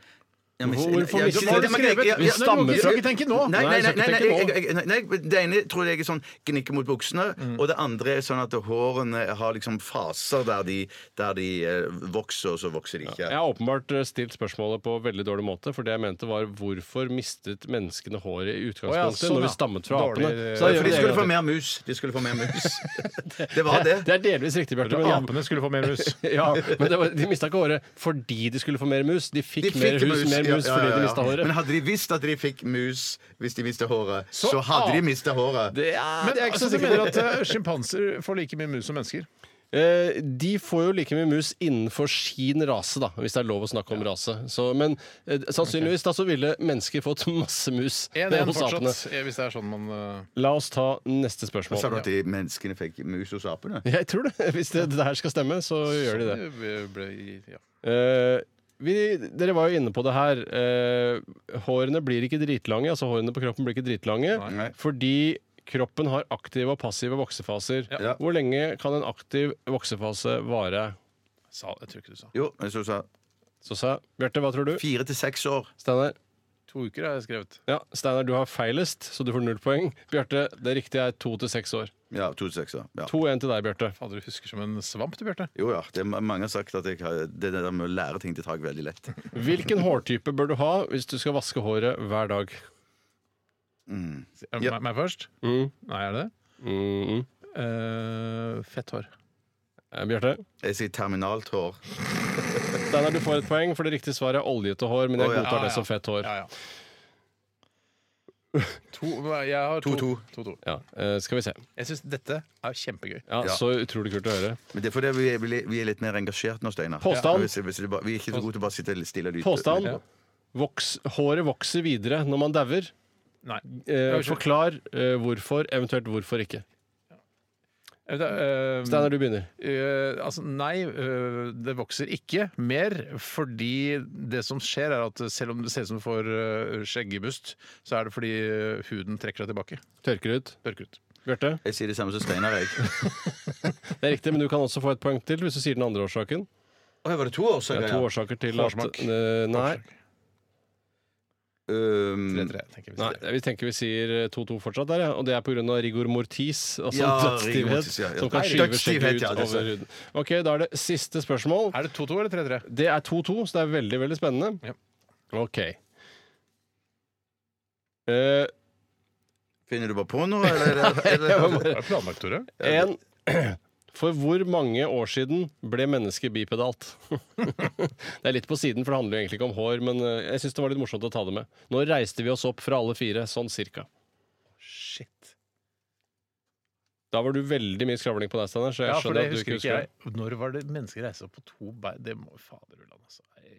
Ja, miste-
Hvorfor
ja,
miste-
det-
Hva har du
det- men jeg-
skrevet?
ja,
Vi
ja,
stammer
men-
fra-
Skal ikke tenke nå!
Nei, nei, nei, nei,
Nei, så
nei,
tenker
jeg- jeg- nei, nei, Det ene tror jeg er sånn gnikke mot buksene,
Mm.
og det andre er sånn at hårene har liksom faser der de, der de eh, vokser, og så vokser de ikke.
Jeg har åpenbart eh, stilt spørsmålet på veldig dårlig måte, for det jeg mente var hvorfor mistet menneskene håret i utgangspunktet
Å ja, sånn,
når
ja.
vi stammet fra
Dårlig,
apene?
eh,
Så da
For
gjør vi
de
det
skulle
en
få
gang
mer mus. De skulle få mer mus.
[LAUGHS]
[LAUGHS] Det var det.
til. Det er delvis riktig, Bjarte. men-
Apene skulle få mer mus.
[LAUGHS] Ja, men det var, De mista ikke håret fordi de skulle få mer mus. De fikk,
De
mer
fikk
hus, mer
ja,
mus
ja,
fordi
ja,
de
ja.
mista håret.
Men hadde de visst at de fikk mus hvis de mistet håret,
Så-
så hadde
Ah.
de mistet håret.
det, ja,
Men
det er jeg ikke
altså,
så
du
sikker
mener
på.
at eh, sjimpanser får like mye mus som
[LAUGHS]
mennesker?
Eh, de får jo like mye mus innenfor sin rase, da, hvis det er lov å snakke om rase. Så, men eh, sannsynligvis da så ville mennesker fått masse mus.
En,
Det er
en
hos
fortsatt,
apene.
eh, hvis det er sånn man eh,
La oss ta neste
Sa du
spørsmål.
at de menneskene fikk mus hos apene?
Jeg tror det. [LAUGHS] Hvis det, det her skal stemme, så gjør de det.
ble, ja.
Eh, vi, dere var jo inne på det her. Eh, hårene blir ikke dritlange. Altså hårene på kroppen blir ikke dritlange
Nei.
fordi kroppen har aktive og passive voksefaser.
Ja.
Hvor lenge kan en aktiv voksefase vare?
Sa, jeg tror ikke du sa.
Jo, jeg så sa
Så sa jeg- Bjarte, hva tror du?
fire til seks år.
Steinar?
To uker har jeg skrevet.
Ja, Steinar, du har feilest, så du får null poeng. Bjarte, det riktige er to til seks år.
Ja, to til seks år. Ja.
2-1 til deg, Bjarte.
Fader, du husker som en svamp, du, Bjarte.
Jo ja, det er mange har sagt at jeg har, det der med å lære ting til tak veldig lett.
Hvilken [LAUGHS] hårtype bør du ha hvis du skal vaske håret hver dag?
Er det
Ja.
meg- Meg først?
Mm.
Nei, er det det?
Mm -mm.
Eh, fett hår.
Eh, Bjarte?
Jeg sier terminalt hår.
Steinar, du får et poeng, for det riktige svaret er oljete hår, men jeg
Å, ja.
godtar
Ja,
det
ja.
som fett hår.
Ja, ja. To, jeg har to.
To-to.
To-to.
Ja, eh, skal vi se.
Jeg syns dette er kjempegøy.
Ja,
Ja.
Så utrolig kult å høre.
Men det er fordi vi er, vi er litt mer engasjert nå, Steinar.
Påstand.
Hvis- hvis det bare- Vi er ikke så gode til å bare sitte litt stille og lytte.
Påstand.
Ja.
Voks, håret vokser videre når man dauer.
Nei.
Eh,
ikke-
forklar eh, hvorfor, eventuelt hvorfor ikke.
Eh, det er, eh,
Steinar, du begynner.
Eh, altså Nei, eh, det vokser ikke mer. Fordi det som skjer, er at selv om det ser ut som du får eh, skjeggebust, så er det fordi eh, huden trekker seg tilbake.
Tørker ut.
Tørker ut.
Bjarte?
Jeg sier det samme som Steinar, jeg.
Det er riktig, men du kan også få et poeng til hvis du sier den andre årsaken.
Å, var det to år
Det
siden?
er to årsaker til
Hårsmak.
at eh, Nei, Mm.
Um,
Tre, tenker vi.
nei vi tenker vi sier eh, 2-2 fortsatt der, ja. Og det er pga. rigor mortis, altså
Ja, rigor
dødsstivhet,
mortis, ja, ja.
som kan
Nei,
skyve
dødsstivhet,
skjegget ut
ja, det er
over huden. Ok, da er det siste spørsmål.
Er det 2-2 eller 3-3?
Det er 2-2, så det er veldig, veldig spennende.
Ja.
Ok. Eh,
Finner du bare på noe, eller?
[LAUGHS]
eller,
jeg må
eller?
bare
Det er planlagt, Tore.
En [CLEARS THROAT] For hvor mange år siden ble mennesket bipedalt? [LAUGHS] det er litt på siden, for det handler jo egentlig ikke om hår, men eh, jeg syns det var litt morsomt å ta det med. Nå reiste vi oss opp fra alle fire, sånn cirka.
Shit.
Da var du veldig mye skravling på deg, Steinar, så jeg
Ja, for
skjønner
det
at du
husker
ikke
ikke
husker det.
jeg. Når var det mennesker reiste opp på to bein? Det må faderullan, altså. Nei.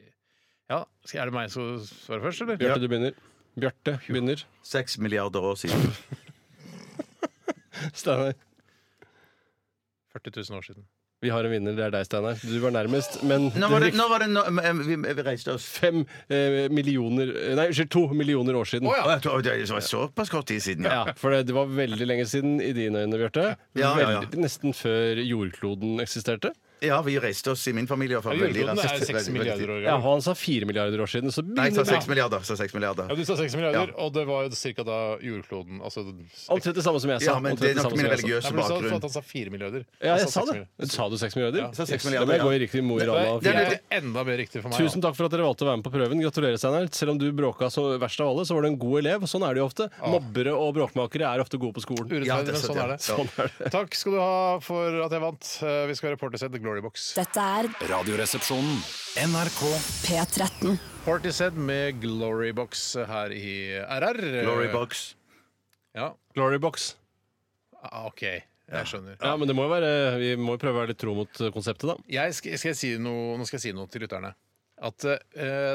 Ja, skal- er det meg som svarer først, eller?
Bjarte, du begynner. Bjarte begynner.
Seks milliarder år siden.
[LAUGHS]
Steinar.
40 000 år siden.
Vi har en vinner, det er deg, Steinar. Du var nærmest, men
Nå var det,
det
nå var det nå, men vi, vi reiste oss
fem eh, millioner Nei, unnskyld, to millioner år siden.
Å, jeg tror- Det var såpass kort tid siden, ja.
Ja, for det, det var veldig lenge siden i dine øyne, Bjarte.
Ja, ja, ja.
Veldig- Nesten før jordkloden eksisterte.
Ja, vi reiste oss i min familie. og for veldig
Jordkloden er
raskt-
6
veldig- veldig-
milliarder år
Ja,
gammel.
og han sa fire milliarder år siden, så
Nei, jeg sa
begynner
seks
det
milliarder. sa seks milliarder.
Ja, du sa 6 milliarder, og det var jo ca. da jordkloden altså,
Omtrent det samme som jeg sa.
Ja, men
omtrent
det er nok
samme
min
som jeg sa.
religiøse
Nei, men du sa
bakgrunn.
at han sa 4 milliarder.
Ja,
Han
jeg
sa
sa
seks
det. Sa du seks milliarder?
Ja,
sa seks
Yes,
milliarder,
Det må jeg
ja.
gå i riktig Mo i Rana.
Det er
fire.
enda mer riktig for meg.
Tusen takk for at dere valgte å være med på prøven. Gratulerer, Steinar. Selv om du bråka så verst av alle, så var du en god elev. Sånn er det jo ofte.
Ah.
Mobbere og bråkmakere er ofte gode på skolen.
Urettferdig,
Ja, det er
men
sant,
sånn
ja.
er det. Takk skal du ha for at jeg vant. Eh, Vi skal ha Reporterset Glory Box.
Dette er
Radioresepsjonen.
Sånn.
NRK
P13.
Partyset med Glory Box her i RR.
Glory box.
Ja,
Glorybox.
ah, OK. Jeg skjønner.
Ja, men det må jo være Vi må jo prøve å være litt tro mot eh, konseptet, da.
Jeg skal, skal jeg si noe, nå skal jeg si noe til lytterne. At eh,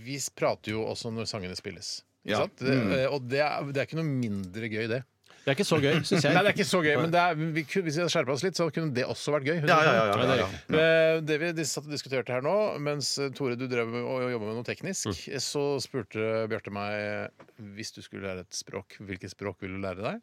vi prater jo også når sangene spilles. Ikke
Ja. Mm.
sant? Det, eh, og det er, det er ikke noe mindre gøy, det.
Det er ikke så gøy, syns jeg.
[LAUGHS] Nei, det er ikke så gøy, men det er, vi kunne, hvis vi hadde skjerpa oss litt, så kunne det også vært gøy. sånn.
Ja, ja, ja, ja, ja, ja.
Eh, Det vi dis- satt og diskuterte her nå, mens eh, Tore du drev med å jobbe med noe teknisk,
Mm.
eh, så spurte Bjarte meg hvis du skulle lære et språk, hvilket språk vil du lære deg?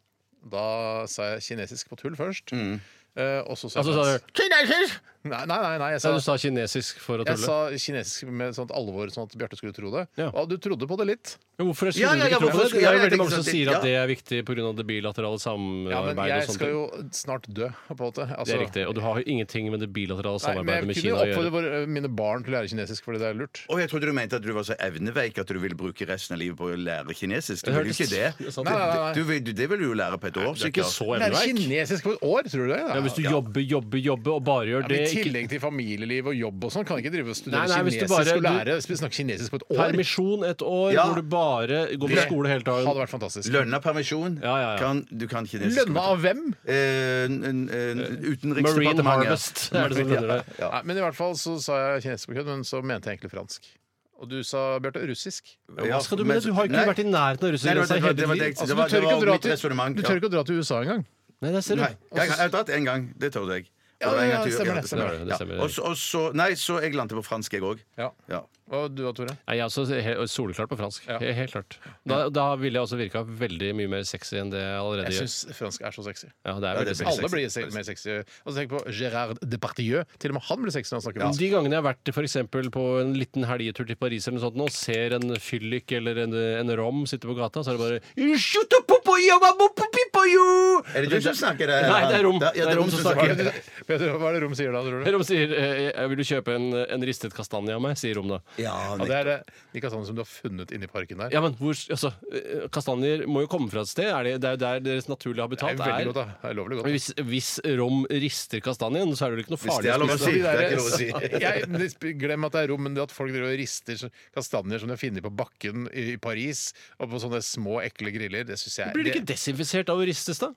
Da sa jeg kinesisk på tull først. eh, Og så sa
Altså, Mm. sa
jeg
du kinesisk?
Nei, nei, nei, nei jeg
Ja,
sa
du sa kinesisk for å
jeg
tulle.
sa kinesisk med sånt alvor, sånn at Bjarte skulle tro det.
Ja.
Og du trodde på det litt.
Men Hvorfor skulle
Ja, ja,
du
ja,
ikke tro på
hvorfor
det?
skulle-
Det
ja,
er jo
jeg tenkte
veldig mange som
sånn,
sier
ja.
at det er viktig pga. det bilaterale
Ja, men
samarbeidet.
jeg
og sånne
skal
ting.
jo snart dø, på en måte. Altså-
Det er riktig. Og du har jo ingenting med det
Nei, men
bilaterale
jeg
samarbeidet med
kunne jo
Kina å
oppfordre
gjøre.
våre- mine barn til å lære kinesisk fordi det er lurt.
Og jeg trodde du mente at du var så evneveik at du ville bruke resten av livet på å lære kinesisk. Du
Det
vil jo
hørtes-
ikke det.
Det er sant.
Du-
Nei, nei, nei.
Du, vil- du, det vil du jo lære på et år,
Du er ikke
sikkert.
så
Lære
evneveik.
kinesisk på et år, tror du det?
Ja, hvis du jobber, jobber, jobber og bare gjør
Ja, men
det
I
ikke
tillegg til familieliv og jobb og sånn, kan du ikke drive og studere
Nei, nei, hvis du
kinesisk
bare-
og lære snakke kinesisk på et år?
Permisjon et år
Ja.
hvor du bare går på
Det-
skole hele
Hadde
dagen.
vært fantastisk.
Lønna permisjon.
Ja, ja, ja.
Kan, du kan kinesisk.
Lønna av hvem?
Eh, n- n- n- Utenriksdepartementet.
Marine Harvest er det som heter det.
Ja.
Nei, men i hvert fall så sa jeg kinesisk på kødd, men så mente jeg egentlig fransk. Og du sa, Bjarte, russisk.
Hva skal du med det? Du har jo ikke vært i nærheten av
Nei, det var-
russergrensa i hele
det var-
ditt
Så
liv.
Altså,
Altså, det var-
du tør
det
ikke
var
å dra
mitt
til-
resonnement,
du
ja.
tør ikke å dra til USA engang.
Nei, det ser du.
Nei, jeg, jeg har dratt én gang. Det tør jeg.
Ja, ja, ja, stemmer det, stemmer
det. Det stemmer det.
Og så- og så Nei, så jeg landet på fransk, jeg òg.
Ja.
Ja.
Og du da, Tore?
Nei, jeg er også he- soleklart på fransk.
Ja.
He- Helt klart. Da, da ville jeg også virka veldig mye mer sexy enn det jeg allerede
Jeg
gjør.
syns fransk er så sexy.
Ja, det er
det
veldig
er
sexy.
Alle blir se- mer sexy. Og så tenk på Gérard Departieu. Til og med han blir sexy når han snakker
Men [LAUGHS]
fransk.
De gangene jeg har vært for eksempel, på en liten helgetur til Paris eller noe sånt, nå, og ser en fyllik eller en, en rom sitte på gata, så er det bare «Shut up, popo, jobba, popo, pipo, jo!»
Er det du som snakker der?
Nei, Altså, det er Rom.
Ja, det er Rom som
Hva
snakker.
er det, du- Vet du hva er det Rom sier da, tror du?
Rom sier eh, jeg 'Vil du kjøpe en, en ristet kastanje av meg?' sier Rom da.
Ja,
Ja,
nei.
det er det. De kastanjene som du har funnet inni parken der.
Ja, men hvor, altså, eh, Kastanjer må jo komme fra et sted. Er det, det er jo der deres naturlige
Det er
habitat
veldig
er.
godt, da. Det er lovlig godt.
Hvis, hvis Rom rister kastanjen, så er det vel ikke noe
Hvis det
farlig
er lov å
spise
si.
den?
Det er ikke lov å si. [LAUGHS]
Jeg, men de sp- glem at det er rom, men det at folk driver og rister så- kastanjer som de har funnet på bakken i Paris, og på sånne små, ekle griller, det syns jeg
Blir det ikke desinfisert av å ristes, da?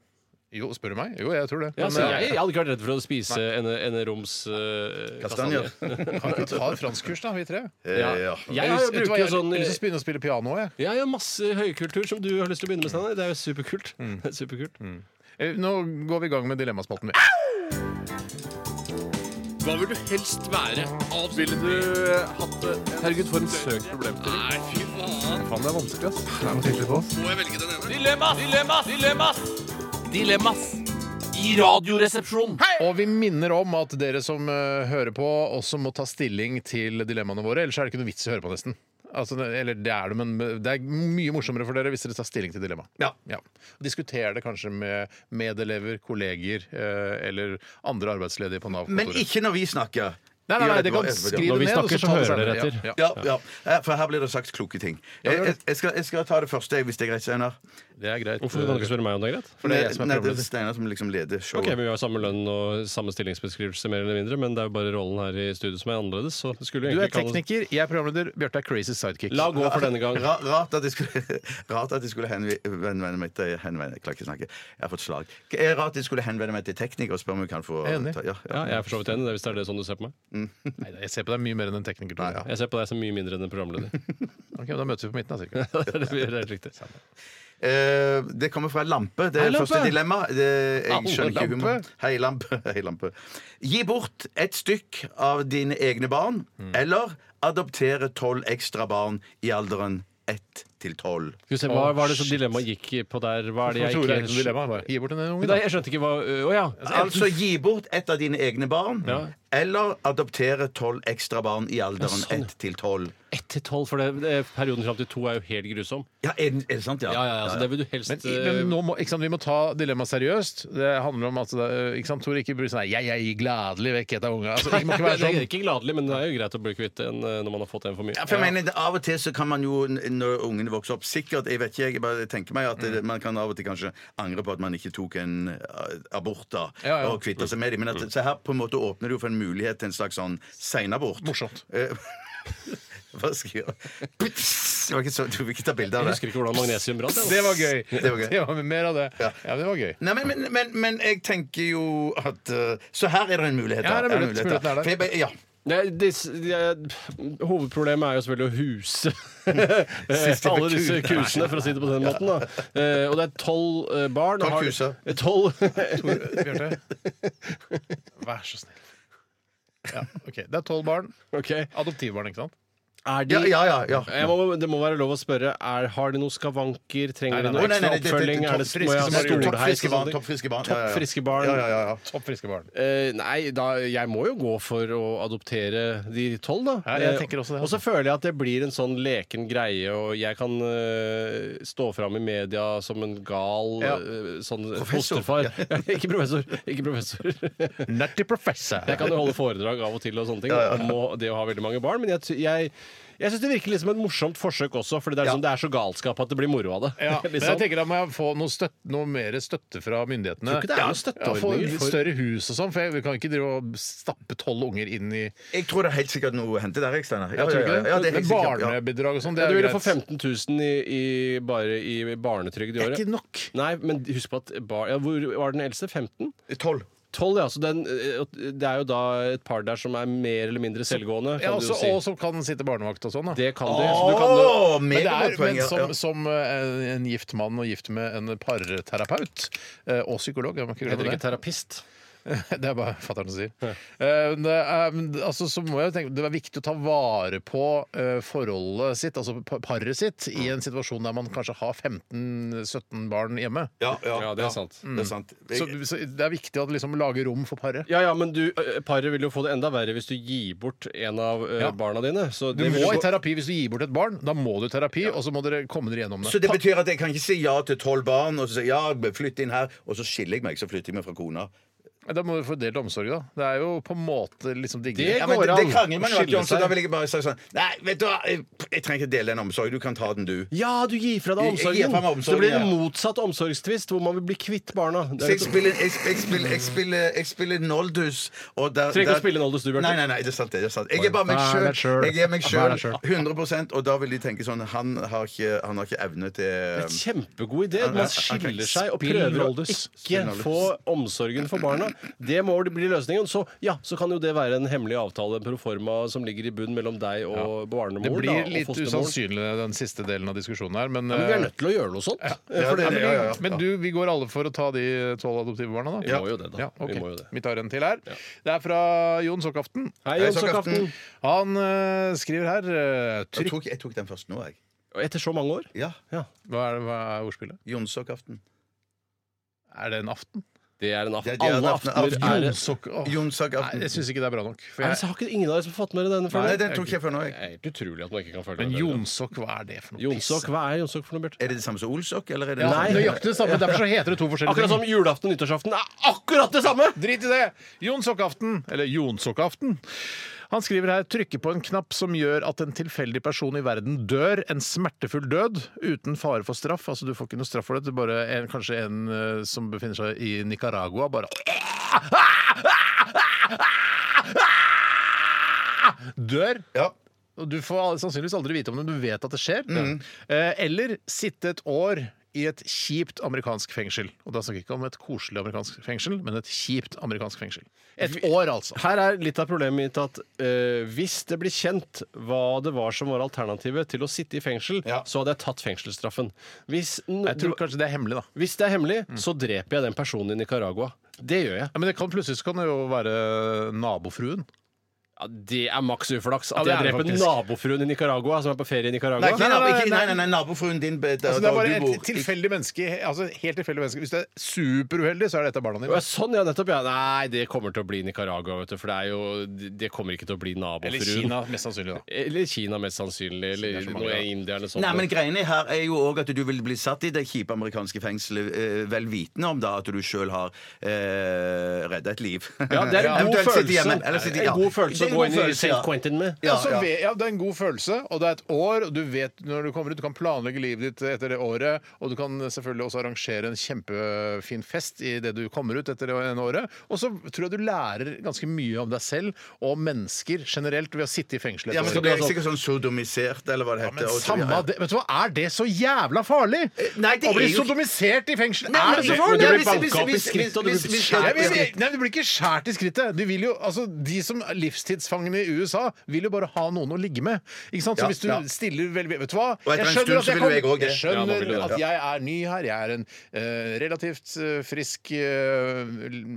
Jo, spør du meg? Jo, jeg tror det.
Ja,
Men,
så
eh,
jeg, jeg hadde ikke vært redd for å spise en, en roms eh,
Kastanjer.
Kan vi ta franskkurs, da, vi tre?
Ja.
Eh, ja.
Jeg har
Vet
jo
du hva,
brukt
jeg
jo sånn
har lyst til å begynne å spille piano, jeg.
Jeg har masse høykultur som du har lyst til å begynne med, Steinar. [LAUGHS] Det er jo superkult.
Mm.
superkult.
Eh, Nå går vi i gang med dilemmaspalten. vi.
Hva vil du helst være? Ville du eh, hatt det? Herregud, for en søk problemstilling. Nei, fy faen. Faen, det er vanskelig, ass. Må jeg velge den ene?
Dilemmas! Dilemmas! Dilemmas! Dilemmas i Radioresepsjonen.
Og vi minner om at dere som eh, hører på, også må ta stilling til dilemmaene våre. Ellers er det ikke noe vits i å høre på, nesten. Altså, det- eller det er det, men det er mye morsommere for dere hvis dere tar stilling til dilemmaet. Ja. Diskuter det kanskje med medelever, kolleger eh, eller andre arbeidsledige på Nav-kontoret.
Men ikke når vi snakker.
Nei,
Gjør
nei, nei, det kan
etterpå, etterpå, ja.
skrive
Når vi
ned, og så
snakker, så
ta det
hører dere
senere.
etter.
Ja, ja.
Ja, ja. Eh, For her blir det sagt kloke ting. Jeg, jeg, jeg, skal, jeg skal ta det første jeg, hvis det er greit, Steinar.
Det er greit.
Hvorfor kan du ikke spørre meg om det er greit?
For det er jeg som er
Nei, det er
programleder.
Steinar som liksom leder
Ok,
showet.
Vi har samme lønn og samme stillingsbeskrivelse, mer eller mindre, men det er jo bare rollen her i studio som er annerledes. Så det skulle jo
Du er
egentlig kalle-
tekniker, jeg er programleder, Bjarte er crazy sidekick.
La gå for denne gang.
Ra, rart at jeg skulle, [LAUGHS] rart at jeg skulle henvi- henvende meg til henvende, Jeg klarer ikke å snakke. Jeg har fått slag. Eh, Rart at jeg skulle henvende meg til tekniker og spørre om hun kan få
Jeg er enig.
ta- ja,
[LAUGHS] Ja,
ja.
jeg er for så vidt enig, det er hvis det er det sånn du ser på meg.
Nei, jeg ser på deg mye mer enn en tekniker. Tror jeg.
Jeg ser på deg som mye mindre enn
[LAUGHS]
en programleder. [LAUGHS]
Ok, men Da møtes vi på midten, da, cirka.
det er det vi gjør, helt riktig.
Eh, det kommer fra Lampe. Det
Hei,
er
Lampe! Ah, oh,
første dilemma. Det, jeg
Au,
skjønner ikke
Lampe!
humor. Hei, Lampe. [LAUGHS] Hei, Lampe. Gi bort et stykk av dine egne barn,
Mm.
eller adoptere tolv ekstra barn i alderen ett til tolv.
Skal vi se, Hva var det som dilemmaet gikk på der? Hva er det jeg
Hvorfor tror du det er noe
ikke
dilemma? Bare Gi bort en unge,
Nei,
da.
jeg skjønte ikke hva Å ja.
Altså gi bort ett av dine egne barn, eller adoptere tolv ekstra barn i alderen
Ja, sånn, ja.
ett til tolv.
Ett til tolv, for det, det, perioden fram til to er jo helt grusom.
Ja, er, det- er det sant? Ja.
Ja, ja, ja, så det vil du helst
Men, i- men
eh,
nå må, ikke sant, Vi må ta dilemmaet seriøst. Det handler om at det- ikke sant, Tor ikke blir sånn «Nei, Jeg, jeg gir gladelig vekk et av unga. Altså, det må
[LAUGHS]
ikke være
Det er
sånn.
ikke gladelig, men det er jo greit å bli kvitt en eh, når man har fått en for mye.
Ja, for jeg mener, det- Av og til så kan man jo, n- når ungene vokser opp Sikkert, jeg vet ikke, jeg bare tenker meg at det- man kan av og til kanskje angre på at man ikke tok en eh, abort da,
Ja, ja.
og kvitta seg med dem. Men at, så her på en måte åpner det jo for en mulighet til en slags sånn seinabort.
Morsomt.
Eh, [LAUGHS] Hva skal jeg gjøre? Det var ikke så, du vil ikke ta bilde av
Jeg
det?
husker ikke hvordan magnesium brant. jeg, altså.
Det var gøy.
Det var gøy.
Mer av det. Ja,
Ja.
det var gøy.
Nei, men, men, men, men jeg tenker jo at eh, Så her er det en mulighet.
Ja,
da.
her er det
Her
mulighet. Muligheten er der.
For jeg bare- ja.
Nei, dis- jeg- hovedproblemet er jo selvfølgelig å huse eh, alle disse kusene, for å si det på den måten. Da. Eh, og det er tolv eh, barn. og
Tolv
har-
kuser.
Eh, Tolv
Bjarte. Vær så snill. Ja, ok, Det er tolv barn.
Ok.
Adoptivbarn, ikke sant?
Er de
Ja, ja, ja. ja.
jeg må, det må være lov å spørre. Er, har de noen skavanker? Trenger de
Å,
noe
nei, nei,
ekstra
nei, det- det- det-
oppfølging? Er det,
toppfriske
må
som
jeg ha
har gjort det.
stolheis?
Toppfriske
og
barn,
sånne ting?
toppfriske barn. Ja, ja, ja. Ja, ja, ja, ja.
Topp friske barn.
Topp friske barn.
Eh, nei, da, jeg må jo gå for å adoptere de tolv, da.
Ja, jeg
Eh,
tenker også det.
Og så føler jeg at det blir en sånn leken greie, og jeg kan eh, stå fram i media som en gal
Ja.
eh, sånn
Professor.
[LAUGHS] fosterfar. ikke professor.
[LAUGHS]
Ikke professor.
Nutty professor.
jeg kan jo holde foredrag av og til og sånne ting om å- det å ha veldig mange barn, men jeg, ty- jeg jeg syns det virker litt som et morsomt forsøk også, for det er, liksom, det er så galskap at det blir moro av det. [LAUGHS]
Ja, [LAUGHS] men
Liksom.
jeg tenker Da må jeg få noe, støtt, noe mer støtte fra myndighetene.
Tror ikke det er
Ja,
noen støtteordninger
ja, få
for-
Større hus og sånn, for jeg, vi kan ikke drive og stappe tolv unger inn i
Jeg tror det er helt sikkert noe å hente der, jeg, Steinar. Ja,
Jeg
ja,
tror
ja,
ikke
ja, det er
Men
helt sikkert, ja.
Barnebidrag og sånn, det
Ja,
er
du ville
greit.
få 15 000 i, i, bare i barnetrygd i
Det er
året.
ikke nok.
Nei, men husk på at bar, ja, Hvor var den eldste? 15?
Tolv.
12, ja. Så den, eh, det er jo da et par der som er mer eller mindre selvgående, kan
Ja,
du jo
også,
si.
og som kan sitte barnevakt og sånn. da.
Det kan de. Så du kan,
Åh,
Men, det er,
megagodt poeng,
men
ja.
som,
Ja.
som eh, en gift mann og gift med en parterapeut eh, og psykolog jeg må ikke
heter
glemme
ikke
det. [LAUGHS]
terapist.
det er bare fatter'n som sier. Eh, men det er- men altså, så må jeg jo tenke, det er viktig å ta vare på eh, forholdet sitt, altså pa- paret sitt, i en situasjon der man kanskje har 15-17 barn hjemme.
Ja, ja, Mm.
Ja, det er sant.
Det er sant.
Så, så det er viktig å liksom, lage rom for paret.
Ja, ja, men du, eh, Paret vil jo få det enda verre hvis du gir bort en av eh,
Ja.
barna dine. Så
Du
det vil
må
jo
i
gå-
terapi hvis du gir bort et barn. Da må du i terapi, og så må dere komme dere gjennom det.
Så det betyr at jeg kan ikke si ja til tolv barn, og så si ja, flytt inn her, og så skiller jeg meg, så flytter jeg meg fra kona.
Da må du få delt omsorg, da. Det er jo på en måte liksom diggere.
Det
Ja, men
går
det,
an
det krangler man
å
jo alltid om,
skille
så da
seg.
vil jeg bare si sånn Nei, vet du hva, jeg, jeg trenger ikke dele den omsorgen. Du kan ta den, du.
Ja, du gir fra deg
Jeg- jeg gir
omsorgen.
fra meg omsorgen,
Så blir det
ja.
motsatt omsorgstvist, hvor man vil bli kvitt barna.
Så
Det er
jeg
litt-
spiller, jeg, jeg spiller, jeg spiller, jeg spiller Noldus. Og der,
Trenger ikke å
der-
spille Noldus, du, Bjarte.
Nei, nei, nei, det er sant. det, det er sant. Jeg er bare meg
Vær deg selv.
sjøl. Jeg er meg
Vær deg
sjøl
selv.
100 og da vil de tenke sånn Han har ikke, han har ikke evne til um,
Kjempegod idé. Man skiller seg og prøver å ikke få omsorgen for barna. Det må vel bli løsningen. Så, ja, så kan jo det være en hemmelig avtale, en proforma som ligger i bunn mellom deg og barnemor.
Det
da,
blir
og
litt
fostermor.
usannsynlig, den siste delen av diskusjonen her, men,
Ja, men vi er
eh,
nødt til å gjøre noe sånt.
ja, det,
Nei,
er det,
men,
ja, ja, ja.
men du, vi går alle for å ta de tolv adoptive barna, da?
Vi må jo det, da.
Ja, ok.
Vi må jo det.
Vi tar en til her. Det er fra Jon Sokkaften.
Hei, Jon Sokkaften.
Han eh, skriver her eh,
Jeg
trykk
tok, jeg tok den først nå, jeg.
Og Etter så mange år.
Ja.
Hva er, hva er ordspillet?
Jonsokaften.
Er det en aften?
Det er en
Det
aften.
er- det er en
Alle
aften-
aftener er
Jon
det.
Sokk... Åh. Nei,
Jonsokaften.
jeg syns ikke det er bra nok. For
Nei,
jeg,
så Har ikke ingen av dere som har fått med dere denne før
Nei,
nå?
den tok jeg før nå.
Det
Jeg.
er helt utrolig at man ikke kan følge
men
med.
Jonsokk, hva er det for noe
Jonsok, Hva er Jonsok for noe, Bjarte?
Er det det samme som Olsok? Eller er det
Ja,
Nei.
Nøyaktig det samme. Derfor så heter det to forskjellige
Akkurat som julaften og nyttårsaften er akkurat det samme!
Drit i det! Jon Sokkaften, eller Jon Sokkaften. Han skriver her 'trykke på en knapp som gjør at en tilfeldig person i verden dør en smertefull død uten fare for straff'. Altså Du får ikke noe straff for det. det er bare en, kanskje en eh, som befinner seg i Nicaragua, bare Dør.
Ja.
Og du får al- sannsynligvis aldri vite om det, men du vet at det skjer. Eh, Eller sitte et år i et kjipt amerikansk fengsel. Og da snakker jeg ikke om et koselig amerikansk fengsel, men et kjipt amerikansk fengsel. Et år, altså.
Her er litt av problemet mitt at eh, hvis det blir kjent hva det var som var alternativet til å sitte i fengsel,
Ja.
så hadde jeg tatt fengselsstraffen. Hvis, n-
Jeg tror kanskje det er hemmelig, da.
hvis det er hemmelig,
Mm.
så dreper jeg den personen i Nicaragua. Det gjør jeg.
Ja, men det kan, plutselig så kan det jo være nabofruen.
Ja, det er maks uflaks
Ja,
at
det er
jeg
det
dreper
faktisk.
nabofruen i Nicaragua, som er på ferie i Nicaragua.
Nei, ikke,
Nei, nei, nei,
ikke- nei, nei, nei, nabofruen din der,
Altså, det
der
er bare
du bor.
et tilfeldig menneske. Altså, helt tilfeldig menneske. Hvis du er superuheldig, så er det et av barna
Ja,
dine.
sånn, ja, nettopp. Ja. Nei, det kommer til å bli Nicaragua, vet du. For det, er jo, det kommer ikke til å bli nabofruen.
Eller Kina, mest sannsynlig. da
Eller Kina, mest sannsynlig. Eller noe i India eller sånt.
Nei, men greiene her er jo òg at du vil bli satt i det kjipe amerikanske fengselet eh, vel vitende om da at du sjøl har eh, redda et liv.
Ja, det
[LAUGHS]
er en god
Eventuelt sitte
følelse.
hjemme, eller sitte- ja.
En god følelse
Det er en god
å gå inn i
følelse,
St.
ja.
Quinten med.
Ja,
Ja,
så
ja.
Vet, Altså, ja, Det er en god følelse, og det er et år, og du vet når du kommer ut, du kan planlegge livet ditt etter det året, og du kan selvfølgelig også arrangere en kjempefin fest i det du kommer ut etter det ene året. Og så tror jeg du lærer ganske mye om deg selv og om mennesker generelt ved å sitte i fengsel. et
Ja, men
år.
så blir jeg sikkert sånn sodomisert, eller hva det
Ja,
heter.
men
og så
samme
videre.
av det. Vet du hva, er det så jævla farlig?
Eh, nei, det
Å bli
er jo ikke-
sodomisert i fengsel,
Nei, men
er det så
det- men det Ja,
farlig?
Du blir
hvis-
banka opp i
hvis-
skritt, og du
hvis-
blir
hvis-
Nei,
skjært
men,
i
nei, det blir ikke skjært i skrittet. De, vil jo, altså, de som er livstidsfangene i USA, vil jo bare ha noen å ligge med. Ikke sant? Så
Ja,
hvis du
ja.
stiller vel, Vet du hva?
Og etter en stund så vil jo jeg også det.
jeg
Ja, nå
skjønner
vil du det.
at jeg er ny her. Jeg er en eh, relativt eh, frisk eh,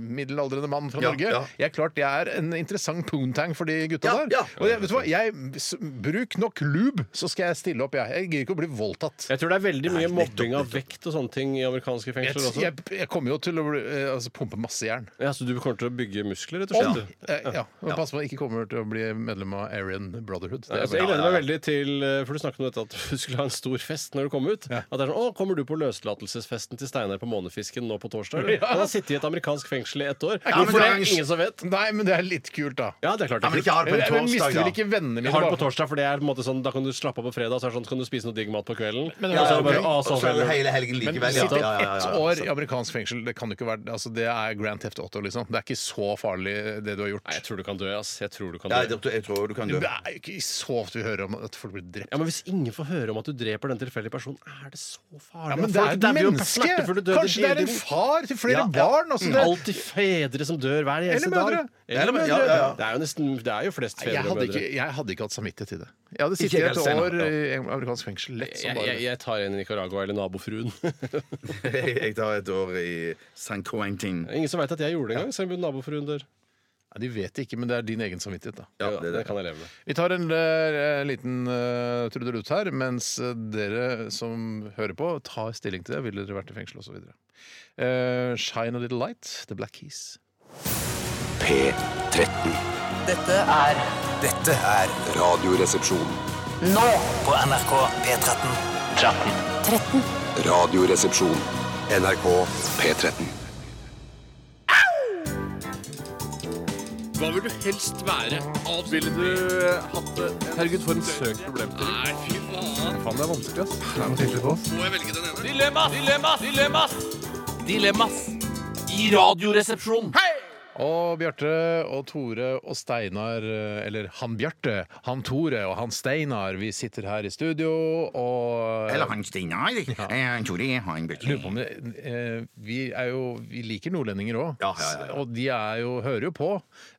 middelaldrende mann fra
Ja,
Norge.
ja.
Jeg er klart jeg er en interessant poontang for de gutta
Ja,
der.
ja.
Og jeg, vet du hva? Jeg, s- bruk nok lube, så skal jeg stille opp, jeg. Jeg gidder ikke å bli voldtatt.
Jeg tror det er veldig mye
Nei, nettopp,
mobbing av vekt og sånne ting i amerikanske
Jeg,
fengsler også.
jeg, jeg kommer jo til å bli, eh, altså, pumpe masse jern.
Ja, Så du kommer til å bygge muskler, rett og
Om!
slett?
Eh, Ja. Men pass på at jeg ikke kommer til å bli medlem av Aryan Brotherhood. Det
Ja,
er
altså,
bra.
jeg gleder meg veldig til eh, For du snakket om dette at du skulle ha en stor fest når du kom ut. At det er sånn Å, kommer du på løslatelsesfesten til Steinar på Månefisken nå på torsdag? eller?» Han har sittet i et amerikansk fengsel i ett år.
men
Hvorfor
det
det?
er en-
Ingen som vet.
Nei, men det er litt kult, da.
Ja, det er klart.
Ja, men
det
ikke
er
har
kult.
det på en
Jeg jeg
torsdag,
mister vel
da.
ikke vennene mine
Jeg har det
bare
på torsdag, for det er på en måte sånn da kan du slappe av på fredag, så er det sånn, så kan du spise noe digg mat på kvelden.
det
og så
er
bare,
ok.
«Å,
sånn, Og
så
så er det
veldig».
hele helgen
Men
likevel.
sitte
ja, ja, ja,
ett
ja, ja.
år i amerikansk fengsel, det kan jo ikke være altså, Det er Grand Theft Auto, liksom. Det er ikke så farlig, det du har
Nei, jeg
gjort.
tror du kan dø, ass. Jeg tror du kan
Ja, jeg
dø.
tror- jeg tror du kan dø.
Det er jo ikke så ofte vi hører om at folk blir drept.
Ja, men Hvis ingen får høre om at du dreper den tilfeldige personen, er det så farlig?
Ja, men
Folk
det er et
dauer jo på
menneske!
smertefulle døder
Kanskje det er
hele
en
tiden.
far til flere
Ja, ja.
barn! Altså, det,
Alltid fedre som dør hver eneste
Eller mødre.
dag. Eller mødre.
Ja, ja, ja.
Det er jo nesten Det er jo flest fedre
jeg,
og
hadde
mødre.
ikke, jeg hadde ikke hatt samvittighet til det. Jeg hadde
jeg
sittet et
heller,
år i amerikansk fengsel lett som
Jeg,
bare
jeg, jeg tar en i Nicaragua eller nabofruen.
[LAUGHS]
[LAUGHS]
Jeg tar et år i San Quentin.
Ingen som veit at jeg gjorde det engang, selv om nabofruen dør.
Nei, De vet det ikke, men det er din egen samvittighet, da.
Ja,
Jo,
det er
det
det.
kan jeg leve med.
Vi tar en eh, liten uh, trudelutt her, mens eh, dere som hører på, tar stilling til det. Ville dere vært i fengsel osv. Uh, Shine a little light, The Black Keys.
P13.
Dette er
Dette er Radioresepsjon.
nå på NRK P13. 13.
13.
Radioresepsjon. NRK P13.
Hva vil du helst være? Ville du eh, hatt det? Herregud, for en søk problemstilling. Nei, fy faen. Faen, det er vanskelig, ass. Må jeg velge den ene?
Dilemmas! Dilemmas! Dilemmas! Dilemmas i Radioresepsjonen.
Og Bjarte og Tore og Steinar, eh, eller han Bjarte, han Tore og han Steinar, vi sitter her i studio og
Eller han Steinar. Ja. Tore, han
Lurer på om det, eh, vi, er jo, vi liker nordlendinger òg,
Ja, ja, ja, ja.
og de er jo, hører jo på.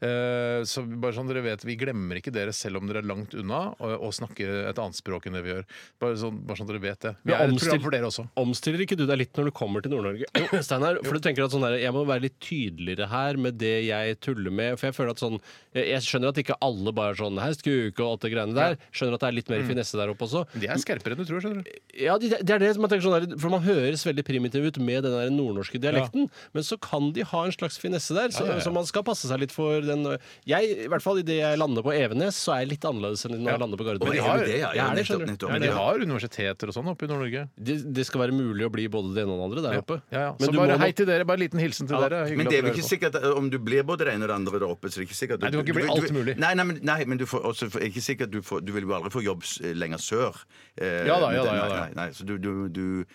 Eh, så bare sånn dere vet, vi glemmer ikke dere selv om dere er langt unna, og, og snakker et annet språk enn det vi gjør. Bare sånn, bare sånn dere vet det. Vi
Men
er et
omstill-
program for dere også.
Omstiller ikke du deg litt når du kommer til Nord-Norge? [CLEARS THROAT] Steinar, for du tenker at sånn der, Jeg må være litt tydeligere her med det jeg tuller med. For Jeg føler at sånn Jeg jeg skjønner at ikke alle bare er sånn Her skuke og alt det greiene der. Skjønner at det er litt mer
Mm.
finesse der oppe også.
De er skerpere enn du tror, skjønner du.
Ja, de- det er det som jeg tenker sånn der, For man høres veldig primitiv ut med den der nordnorske dialekten, men så kan de ha en slags finesse der, så,
Ja, ja, ja.
så man skal passe seg litt for den Jeg, i hvert fall idet jeg lander på Evenes, så er jeg litt annerledes enn når jeg lander på
Og
Gardermoen.
de har-
det, ja,
ja,
er det,
nettopp,
skjønner du.
nettopp.
Ja, de har universiteter og sånn oppe i Nord-Norge.
det, det skal være mulig å bli både det ene og det andre der
Ja,
oppe.
ja, ja.
Men
Så
du
bare
må
hei
nok-
til dere, bare en liten hilsen til dere. Hyggelig
Men det er jo
at dere
ikke
hører på.
sikkert at eh, om du blir både det ene og det andre der oppe. Så er det ikke sikkert
Nei, du kan ikke bli alt mulig.
Nei, nei, men, nei, men du får også, for, jeg er ikke sikkert du, får, du vil jo aldri få jobb s- lenger sør. Eh,
Ja da,
men
ja da,
det-
ja da.
Nei, nei, så du, du, du,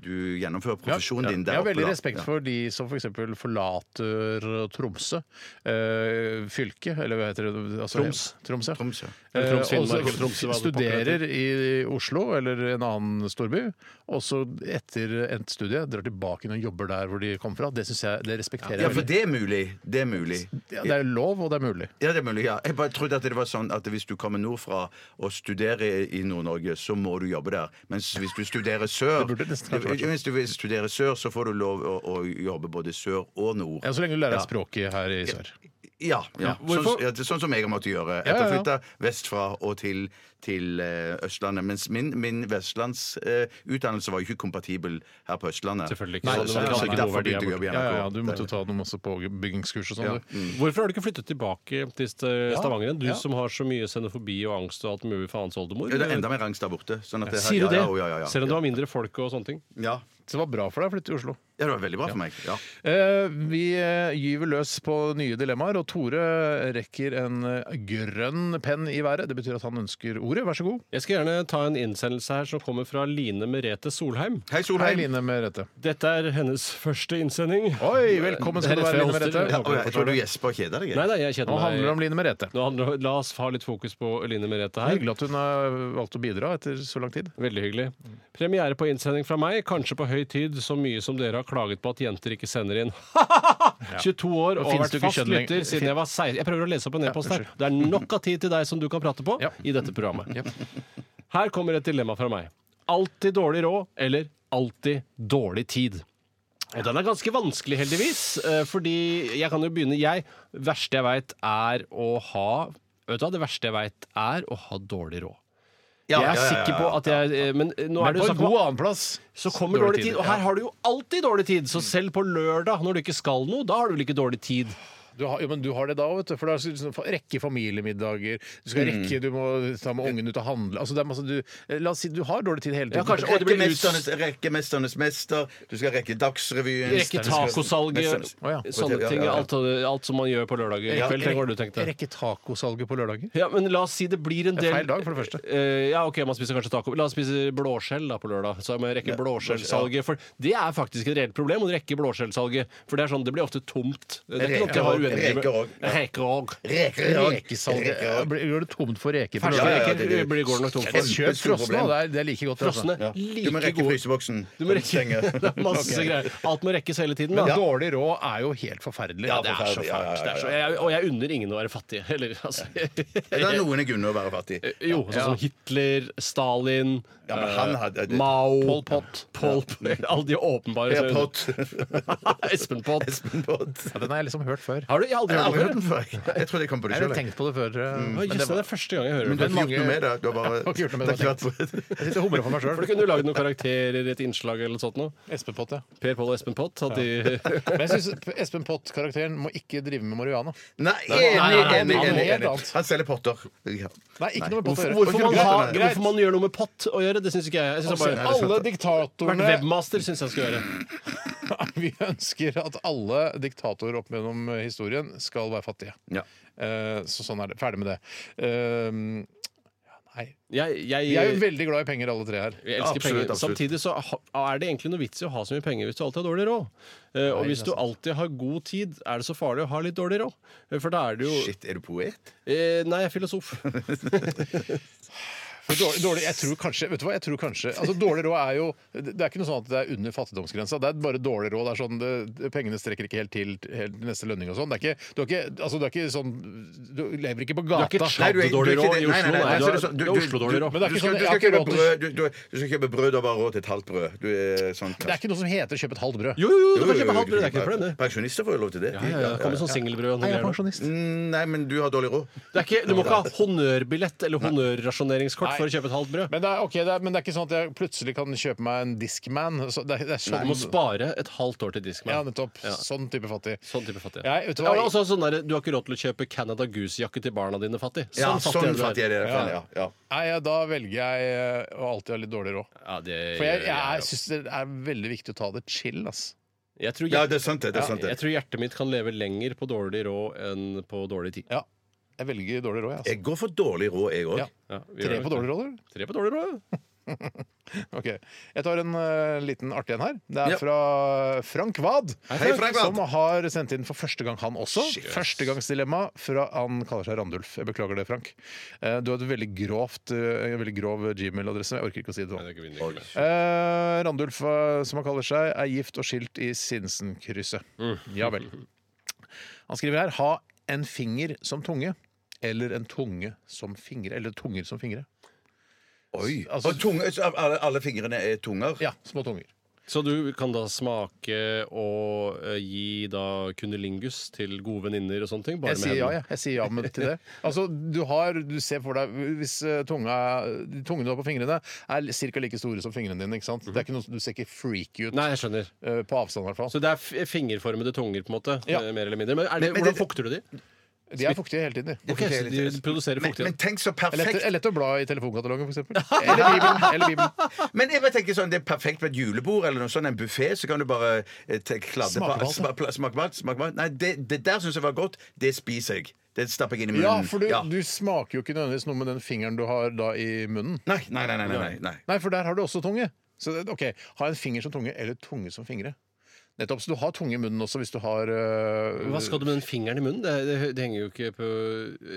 du gjennomfører profesjonen din der
Jeg har
oppe.
veldig
da.
respekt
Ja.
for de som f.eks. For forlater Tromsø eh, fylke, eller hva heter det? Altså,
Troms.
Troms, ja.
Troms, ja.
Eh,
Eller Troms,
og
Finnmark, eller
så
Tromsø, hva det
studerer i Oslo eller en annen storby, og så etter endt studie drar tilbake inn og jobber der hvor de kom fra. Det synes jeg, det respekterer
Ja,
jeg
for
veldig.
det er mulig. Det er mulig.
Ja, Det er lov, og det er mulig.
Ja, det er mulig, ja. Jeg bare trodde at det var sånn at hvis du kommer nordfra og studerer i Nord-Norge, så må du jobbe der. Mens hvis du studerer sør,
[LAUGHS] Det burde nesten kanskje vært sånn.
hvis du vil studere sør, så får du lov å, å jobbe både sør og nord.
Ja, så lenge du lærer
Ja.
deg språket her i sør.
Ja. ja. Sånn,
Hvorfor-
ja det er sånn som jeg har måttet gjøre.
Ja,
Etter å
ja, ja.
flytte vestfra og til, til eh, Østlandet. Mens min, min vestlandsutdannelse var jo ikke kompatibel her på Østlandet.
Selvfølgelig ikke.
Nei,
Nei,
så,
det var
så,
ikke noe
derfor
verdi her
begynte jeg å jobbe i
Ja, ja, ja, du
NRK.
måtte ta noe masse påbyggingskurs og sånn.
Ja.
du.
Hvorfor har du ikke flyttet tilbake til St- Stavanger? Du
ja.
som har så mye xenofobi og angst og alt mulig faens oldemor.
Ja, det er enda mer angst der borte. Sånn at det,
Sier du det?
Ja, ja, ja, ja, ja.
Selv om det var mindre folk og sånne ting.
Ja.
Så det var bra for deg å flytte til Oslo.
ja, det var veldig bra for meg. Ja.
Eh, Vi eh, gyver løs på nye dilemmaer, og Tore rekker en eh, grønn penn i været. Det betyr at han ønsker ordet. Vær så god.
Jeg skal gjerne ta en innsendelse her som kommer fra Line Merete Solheim.
Hei,
Hei,
Solheim.
Line Merete.
Dette er hennes første innsending.
Oi, velkommen skal du
Det er
være, Line
rett før jeg
Merete.
hoster.
Ja, og jeg tror du gjesper og kjeder deg. jeg.
Nei da, jeg kjeder
Nå
meg
handler det om Line Merete.
Nå handler det- La oss ha litt fokus på Line Merete her.
Hyggelig at hun har valgt å bidra etter så lang tid.
Veldig hyggelig.
Mm.
Premiere på innsending fra meg, kanskje på høy tid, så mye som dere har klaget på at jenter ikke sender
[LAUGHS]
inn. 22 år og
finnes
vært
det ikke
fast
kjønn lenger?
lytter siden jeg var 16. Jeg prøver å lese opp en e-post her.
unnskyld.
Det er nok av tid til deg som du kan prate på
Ja.
i dette programmet. Her kommer et dilemma fra meg. Alltid dårlig råd eller alltid dårlig tid? Og den er ganske vanskelig, heldigvis. eh, Fordi jeg kan jo begynne Jeg, verste jeg veit, er å ha Vet du hva, det verste jeg veit, er å ha dårlig råd.
Ja,
jeg
ja, ja,
er
ja,
sikker på at jeg eh, Men eh, nå er
Men
det
på
jo
en
snakk om
god annenplass.
så kommer dårlig, tid. Og her har du jo alltid dårlig tid. Så selv på lørdag, når du ikke skal noe, da har du vel ikke dårlig tid.
Du har, jo, men du har det da, vet du. For da skal du liksom rekke familiemiddager. Du skal rekke, du må ta med ungen ut og handle. Altså, det er masse, du, la oss si du har dårlig tid hele tiden.
Ja, kanskje- og det blir ut-
Rekkemesternes, rekkemesternes mester. Du skal rekke Dagsrevyen.
Rekke tacosalget,
Mesternes-
Å, ja.
sånne ting. Alt, alt som man gjør på lørdager. I
Ja,
kveld, tenker du, tenkte jeg.
Rekke tacosalget på lørdager.
Ja, men la oss si det blir en
Det
del
er feil dag, for det første.
Eh, ja, ok, man spiser kanskje taco. La oss spise blåskjell da på lørdag. Så må jeg rekke blåskjellsalget. For det er faktisk et reelt problem, å rekke blåskjellsalget. For det er sånn, det blir ofte tomt. Det er ikke nok til å ha
Reker og-
uendelig med-
reker og-
Reker og.
Rekesalget. Ja, blir- Gjør det tomt for reker på
Ferske
Ja, ja,
lørdager?
ja, det-
reker blir- går det nok tomt
Jeg
for.
kjøper
Kjøp frosne,
problem.
da. Det er- Det er like godt. altså.
Frosne,
Du må
like
rekke
gode.
fryseboksen.
Du må rekke,
Stenge.
[LAUGHS] det er masse greier. Alt må rekkes hele tiden.
Men
Da.
dårlig råd er jo helt forferdelig.
Ja,
Det er så
forferdelig. Ja, ja, ja,
fælt. Det er så, jeg, og jeg unner ingen å være fattig. Eller, altså,
Det er noen jeg unner å være fattig.
jo, sånn som Hitler, Stalin,
Ja, men han hadde-
eh, Mao Pol Pot. [LAUGHS] alle de åpenbare
Ja, pott.
[LAUGHS] Espen Pott.
Espen Pott.
Ja, den har jeg liksom hørt før.
Har du jeg har aldri
Jeg har aldri
hørt
hørt
om
den før. Jeg trodde jeg kom på det
Jeg
sjøl.
har tenkt på det før. tror jeg. Men
det?
det
Mm. Det
var-
er første gang jeg hører
Men du
det.
har ikke gjort noe med det. Du har bare
har ikke gjort noe med det.
Det har ikke vært på-
Jeg sitter og humrer for meg
For du
sjøl.
kunne jo lagd noen karakterer i et innslag eller noe sånt noe.
Espen-pott, ja.
Per Pål og Espen Pott. At [LAUGHS] de,
Men jeg syns Espen Pott-karakteren må ikke drive med marihuana.
Nei,
nei,
enig,
nei,
enig,
han er
enig,
helt
enig.
annet.
Han selger potter. Ja.
Nei, ikke noe med pott å
hvorfor,
gjøre.
hvorfor, man
Greit,
har,
greit.
hvorfor man gjør noe med pott å gjøre, det syns ikke jeg. jeg synes
Altså,
bare,
Alle
Vært
diktatorene
webmaster syns jeg skal gjøre.
[LAUGHS] Vi ønsker at alle diktatorer opp gjennom eh, historien skal være fattige.
Ja.
Eh, Så sånn er det. Ferdig med det. Eh, ja, Nei.
Jeg, jeg,
Vi er jo veldig glad i penger, alle tre her.
Vi elsker
Absolutt,
penger.
absolutt.
Samtidig så ha- er det egentlig noe vits i å ha så mye penger hvis du alltid har dårlig råd. Eh, og hvis du alltid har god tid, er det så farlig å ha litt dårlig råd. Eh, For da er det jo
Shit, er du poet?
eh, Nei, jeg er filosof.
For Dårlig, dårlig, jeg tror kanskje, vet du hva, jeg tror kanskje altså Dårlig råd er jo Det det er ikke noe sånn at det er under fattigdomsgrensa. Det er bare dårlig råd. det er sånn, det, det- Pengene strekker ikke helt til helt til neste lønning og sånn. Det er ikke, du, er ikke, altså, du er ikke sånn Du lever ikke på gata.
ikke
Nei, du er-
Dårlig
du er ikke
råd
det.
i
Nei, nei, nei,
Oslo,
altså,
nei, du
det er
er-
sånn-
det er Oslo-dårlig råd.
Men det
Du
er ikke
skal, du
sånn, jeg
skal
har ikke
kjøpe
råd til
brød, du, du, du skal kjøpe brød og bare råd til et halvt brød. Du er sånn
Det er ikke noe som heter 'kjøp et halvt brød'.
Jo, jo, jo, du
Jo,
kan
jo,
kjøpe
jo, du
halvt brød. Det er
kan
ikke noe problem,
kjøpe-
det.
Pensjonister får jo lov til det.
Ja, ja, ja. Kommer sånn singelbrød og
Nei, jeg er
noe greier.
pensjonist.
Mm, Nei, men du har dårlig råd.
Det er ikke- Du må ikke ha honnørbillett eller honnørrasjoneringskort for å kjøpe et halvt brød.
Men det, er, ok, det er, men det er ikke sånn at jeg plutselig kan kjøpe meg en Discman. Så det, er- det er
Du må
sånn,
spare et halvt år til
ja,
Discman.
nettopp.
Ja.
Sånn type fattig.
Sånn type fattig.
Jeg, vet du
Ja,
hva?
men også sånn der, du har ikke råd til å kjøpe Canada Goose-jakke til barna dine, fattig.
Ja,
Sånn fattig
sånn
er du
fattig er det.
Ja.
Ja. Ja.
Nei, ja, da velger jeg eh, å alltid ha litt dårlig råd.
Ja, det
For jeg, jeg,
gjør
jeg
også.
syns det er veldig viktig å ta det chill, ass.
Jeg tror,
ja,
hjert-
det er sant, det. det, er sant,
jeg
det.
tror hjertet mitt kan leve lenger på dårlig råd enn på dårlig tid.
Ja. Jeg velger dårlig råd, jeg,
Jeg går for dårlig råd, jeg òg.
Ja.
Ja, vi
ass. Tre på
gjør nok det.
dårlig råd, eller?
Tre på dårlig råd, ja.
[LAUGHS] Ok, Jeg tar en eh, liten artig en her. Det er
Ja.
fra Frank Wad.
Hei, Frank Wad.
Som har sendt inn for første gang, han også. Førstegangsdilemma fra Han kaller seg Randulf. Jeg beklager det, Frank. Eh, Du har et veldig grovt, eh, en veldig grov Gmail-adresse. men Jeg orker ikke å si det nå.
Nei, det er ikke min regel.
Eh, Randulf, eh, som han kaller seg, er gift og skilt i Sinsenkrysset.
Mm.
Ja vel. Han skriver her 'ha en finger som tunge'. Eller en tunge som fingre. Eller tunger som fingre.
Oi.
Altså-
og tunge, så alle, alle fingrene er tunger?
Ja, små tunger.
Så du kan da smake og eh, gi da kundelingus til gode venninner og sånne ting? Bare
Jeg sier
med
ja,
hendene?
jeg. Jeg sier ja men til
[LAUGHS]
det. Altså, du har Du ser for deg Hvis eh, tunga de tungene du har på fingrene, er ca. like store som fingrene dine, ikke sant? Det er ikke noe, du ser ikke freaky ut
Nei, jeg skjønner.
eh, på avstand, i hvert fall.
Så det er f- fingerformede tunger, på en måte?
Ja.
eh, Mer eller mindre. Men, er
Men-
det,
men
hvordan
det-
fukter du de?
De er fuktige hele tiden, de.
Ok, så de produserer
Men, men
fuktighet.
tenk så
Det er lett- det
perfekt
er lett å bla i telefonkatalogen, for eksempel.
[LAUGHS]
Eller Bibelen. Eller Bibelen.
Mm.
Men jeg bare tenker sånn, det er perfekt på et julebord eller noe sånn, en buffé, så kan du bare eh, te- kladde
Smake på
på
alt,
sma- pla- Smake på alt. Smake på alt. Nei, det, det der syns jeg var godt. Det spiser jeg. Det stapper jeg inn i munnen.
Ja, for du,
Ja.
du smaker jo ikke nødvendigvis noe med den fingeren du har da i munnen.
Nei, nei, nei, nei, nei, nei, nei.
Nei, for der har du også tunge. Så det, ok, Ha en finger som tunge, eller tunge som fingre. Nettopp, Så du har tunge i munnen også hvis du har eh,
Hva skal du med den fingeren i munnen? Det, det, det henger jo ikke på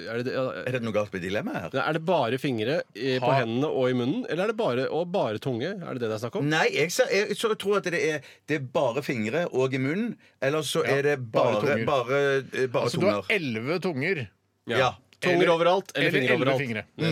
Er det, det
Er det noe galt med dilemmaet her?
Nei, Er det bare fingre i, på
Ha-
hendene og i munnen, eller er det bare, og bare tunge? Er det det det er snakk om?
Nei, jeg, sa, jeg, så tror at det er, det er bare fingre og i munnen. Eller så er det
bare
bare
tunger.
Bare, eh, bare
Altså, du har
tunger.
elleve tunger.
ja.
Mm. Tunger
Eller-
overalt, eller,
eller
fingre
elleve
overalt. Mm.
fingre.
Mm,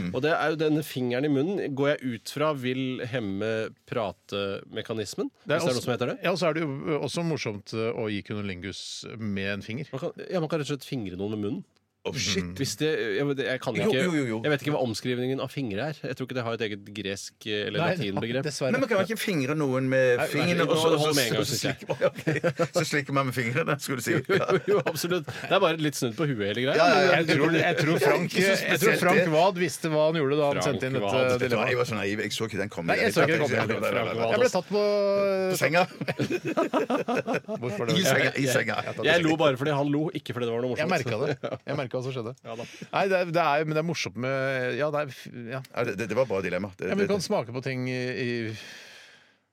Nettopp. Og det er jo denne fingeren i munnen går jeg ut fra vil hemme pratemekanismen. Hvis det er noe som heter det.
Ja, og så er det jo ø, også morsomt ø, å gi kunolingus med en finger.
Man kan, ja, man kan rett og slett fingre noen med munnen.
Oh, shit.
Hvis det, jeg, jeg, kan
Jo,
ikke,
jo, jo, jo.
jeg vet ikke hva omskrivningen av fingre er. Jeg tror ikke det har et eget gresk eh, eller latinbegrep.
dessverre.
Men man kan ikke fingre noen med fingrene,
nå
og så, og så,
holder med en gang,
og så,
synes jeg.
slikker, [LAUGHS] ok. så slikker man med fingrene, skulle du si.
Jo,
Ja.
[LAUGHS] jo, absolutt. Det er bare litt snudd på huet hele greia.
Jeg tror, jeg tror Frank,
Ikke så spesielt,
jeg tror Frank
det.
Wad visste hva han gjorde da han
Frank
sendte inn dette
Vet du
Wad.
hva, Jeg
dilemmaet.
var så naiv. Jeg så ikke den komme.
Nei, jeg så ikke det komme.
Jeg- [LAUGHS] jeg- jeg- jeg-
Jeg ble tatt på
På senga.
Hvorfor
I
det?
senga. I senga.
Jeg lo bare fordi han lo, ikke fordi det var noe
Jeg
morsomt.
merka det. Jeg merket hva som skjedde.
Ja da.
Nei, det er, det er, men det er morsomt med Ja, det er ja.
Ja, det, det- det var bra dilemma. Det,
ja, men
det,
Du kan
det.
smake på ting i, i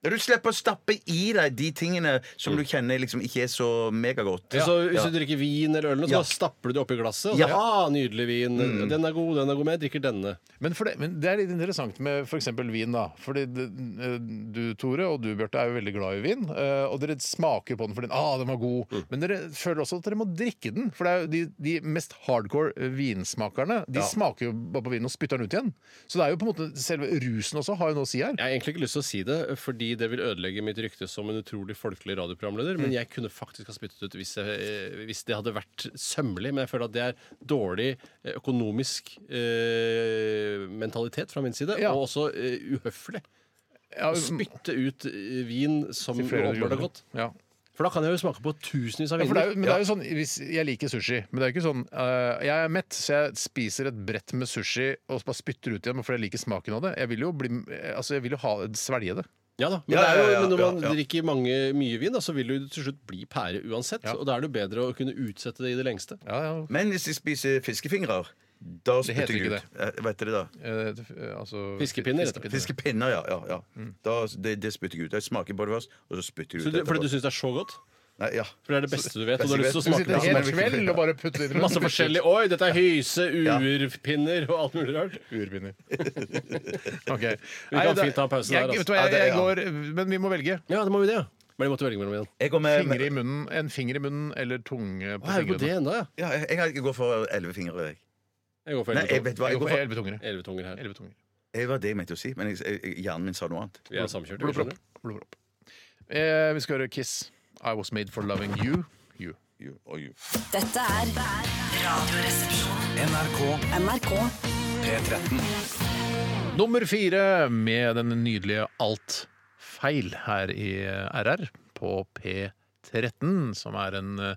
Ja, Du slipper å stappe i deg de tingene som du kjenner liksom ikke er så megagodt.
Så hvis
Ja.
du drikker vin eller øl, nå,
Ja.
så stapper du det oppi glasset. Og så,
Ja. Mm.
ah, nydelig vin. Den er god, den er god, men jeg drikker denne.
Men, for det, men det er litt interessant med f.eks. vin. da Fordi det, eh, Du, Tore, og du, Bjarte, er jo veldig glad i vin. eh, Og dere smaker på den fordi den, ah, den var god. Men dere føler også at dere må drikke den. For det er jo de, de mest hardcore eh, vinsmakerne De smaker jo bare på vinen og spytter den ut igjen. Så det er jo på en måte selve rusen også har jo noe å si her.
Jeg har egentlig ikke lyst til å si det, fordi det vil ødelegge mitt rykte som en utrolig folkelig radioprogramleder, men jeg kunne faktisk ha spyttet ut hvis, jeg, eh, hvis det hadde vært sømmelig. Men jeg føler at det er dårlig eh, økonomisk eh, mentalitet fra min side,
Ja.
og også eh, uhøflig.
Ja,
Å spytte ut eh, vin som
til flere
åpenbart er
kroner.
godt.
Ja.
For da kan jeg jo smake på tusenvis av
Ja, for det er, jo-
viner.
men det er jo sånn, hvis, Jeg liker sushi, men det er jo ikke sånn eh, Jeg er mett, så jeg spiser et brett eh, med sushi og bare spytter ut igjen fordi jeg liker smaken av det. Jeg vil jo, bli, altså, jeg vil jo ha, svelge det.
Ja da, men,
Ja,
det er
ja,
jo,
ja,
men når
ja,
man
ja.
drikker mange, mye vin, da, så vil du til slutt bli pære uansett. Og da er det jo bedre å kunne utsette det i det lengste.
Ja, ja.
Men hvis de spiser fiskefingrer, da
heter
spytter jeg
ikke
ut. Eh, Vet dere det?
Eh, det- eh, altså,
Fiskepinner, heter det.
fiskepinner.
Fiskepinner, ja. ja, ja. Da, det, det spytter jeg ut. Jeg smaker på det først, og så spytter jeg
Så
ut
du, fordi du
etterpå.
syns det er så godt?
Nei, ja.
For det er det beste du vet, og du har lyst til å
Du
smake
sitter
på
Ja,
en
det.
hel kveld og bare putter det i munnen.
Masse forskjellig. Oi, dette er hyse, urpinner og alt mulig rart.
Urbinder.
[LAUGHS]
OK.
Vi kan fint ta pausen
jeg,
der, altså.
vet du hva,
Ja,
jeg,
det-
jeg
ja.
går, men vi må velge.
Ja, det må vi det, ja. Men vi måtte velge mellom igjen.
Jeg går med
Fingre i munnen, en finger i munnen eller tunge på
Eh, Å, er vi på det
fingrene.
ennå, ja?
ja, jeg, jeg går for elleve fingre. Jeg.
Jeg går for
Nei, jeg
elleve
vet hva.
Jeg
Jeg
går
går
for
for,
elleve tungere.
tunger her.
Elleve tungere.
det var det jeg mente å si, men jeg, jeg, hjernen min sa noe annet.
Vi er samkjørte. vi
Blodpropp.
skjønner.
Blodpropp. Eh, vi skal høre Kiss. I was made for loving you. You.
You- og you.
Dette er Radioresepsjonen.
NRK
NRK.
P13.
Nummer fire med den nydelige Alt feil her i RR på P13, som er en eh,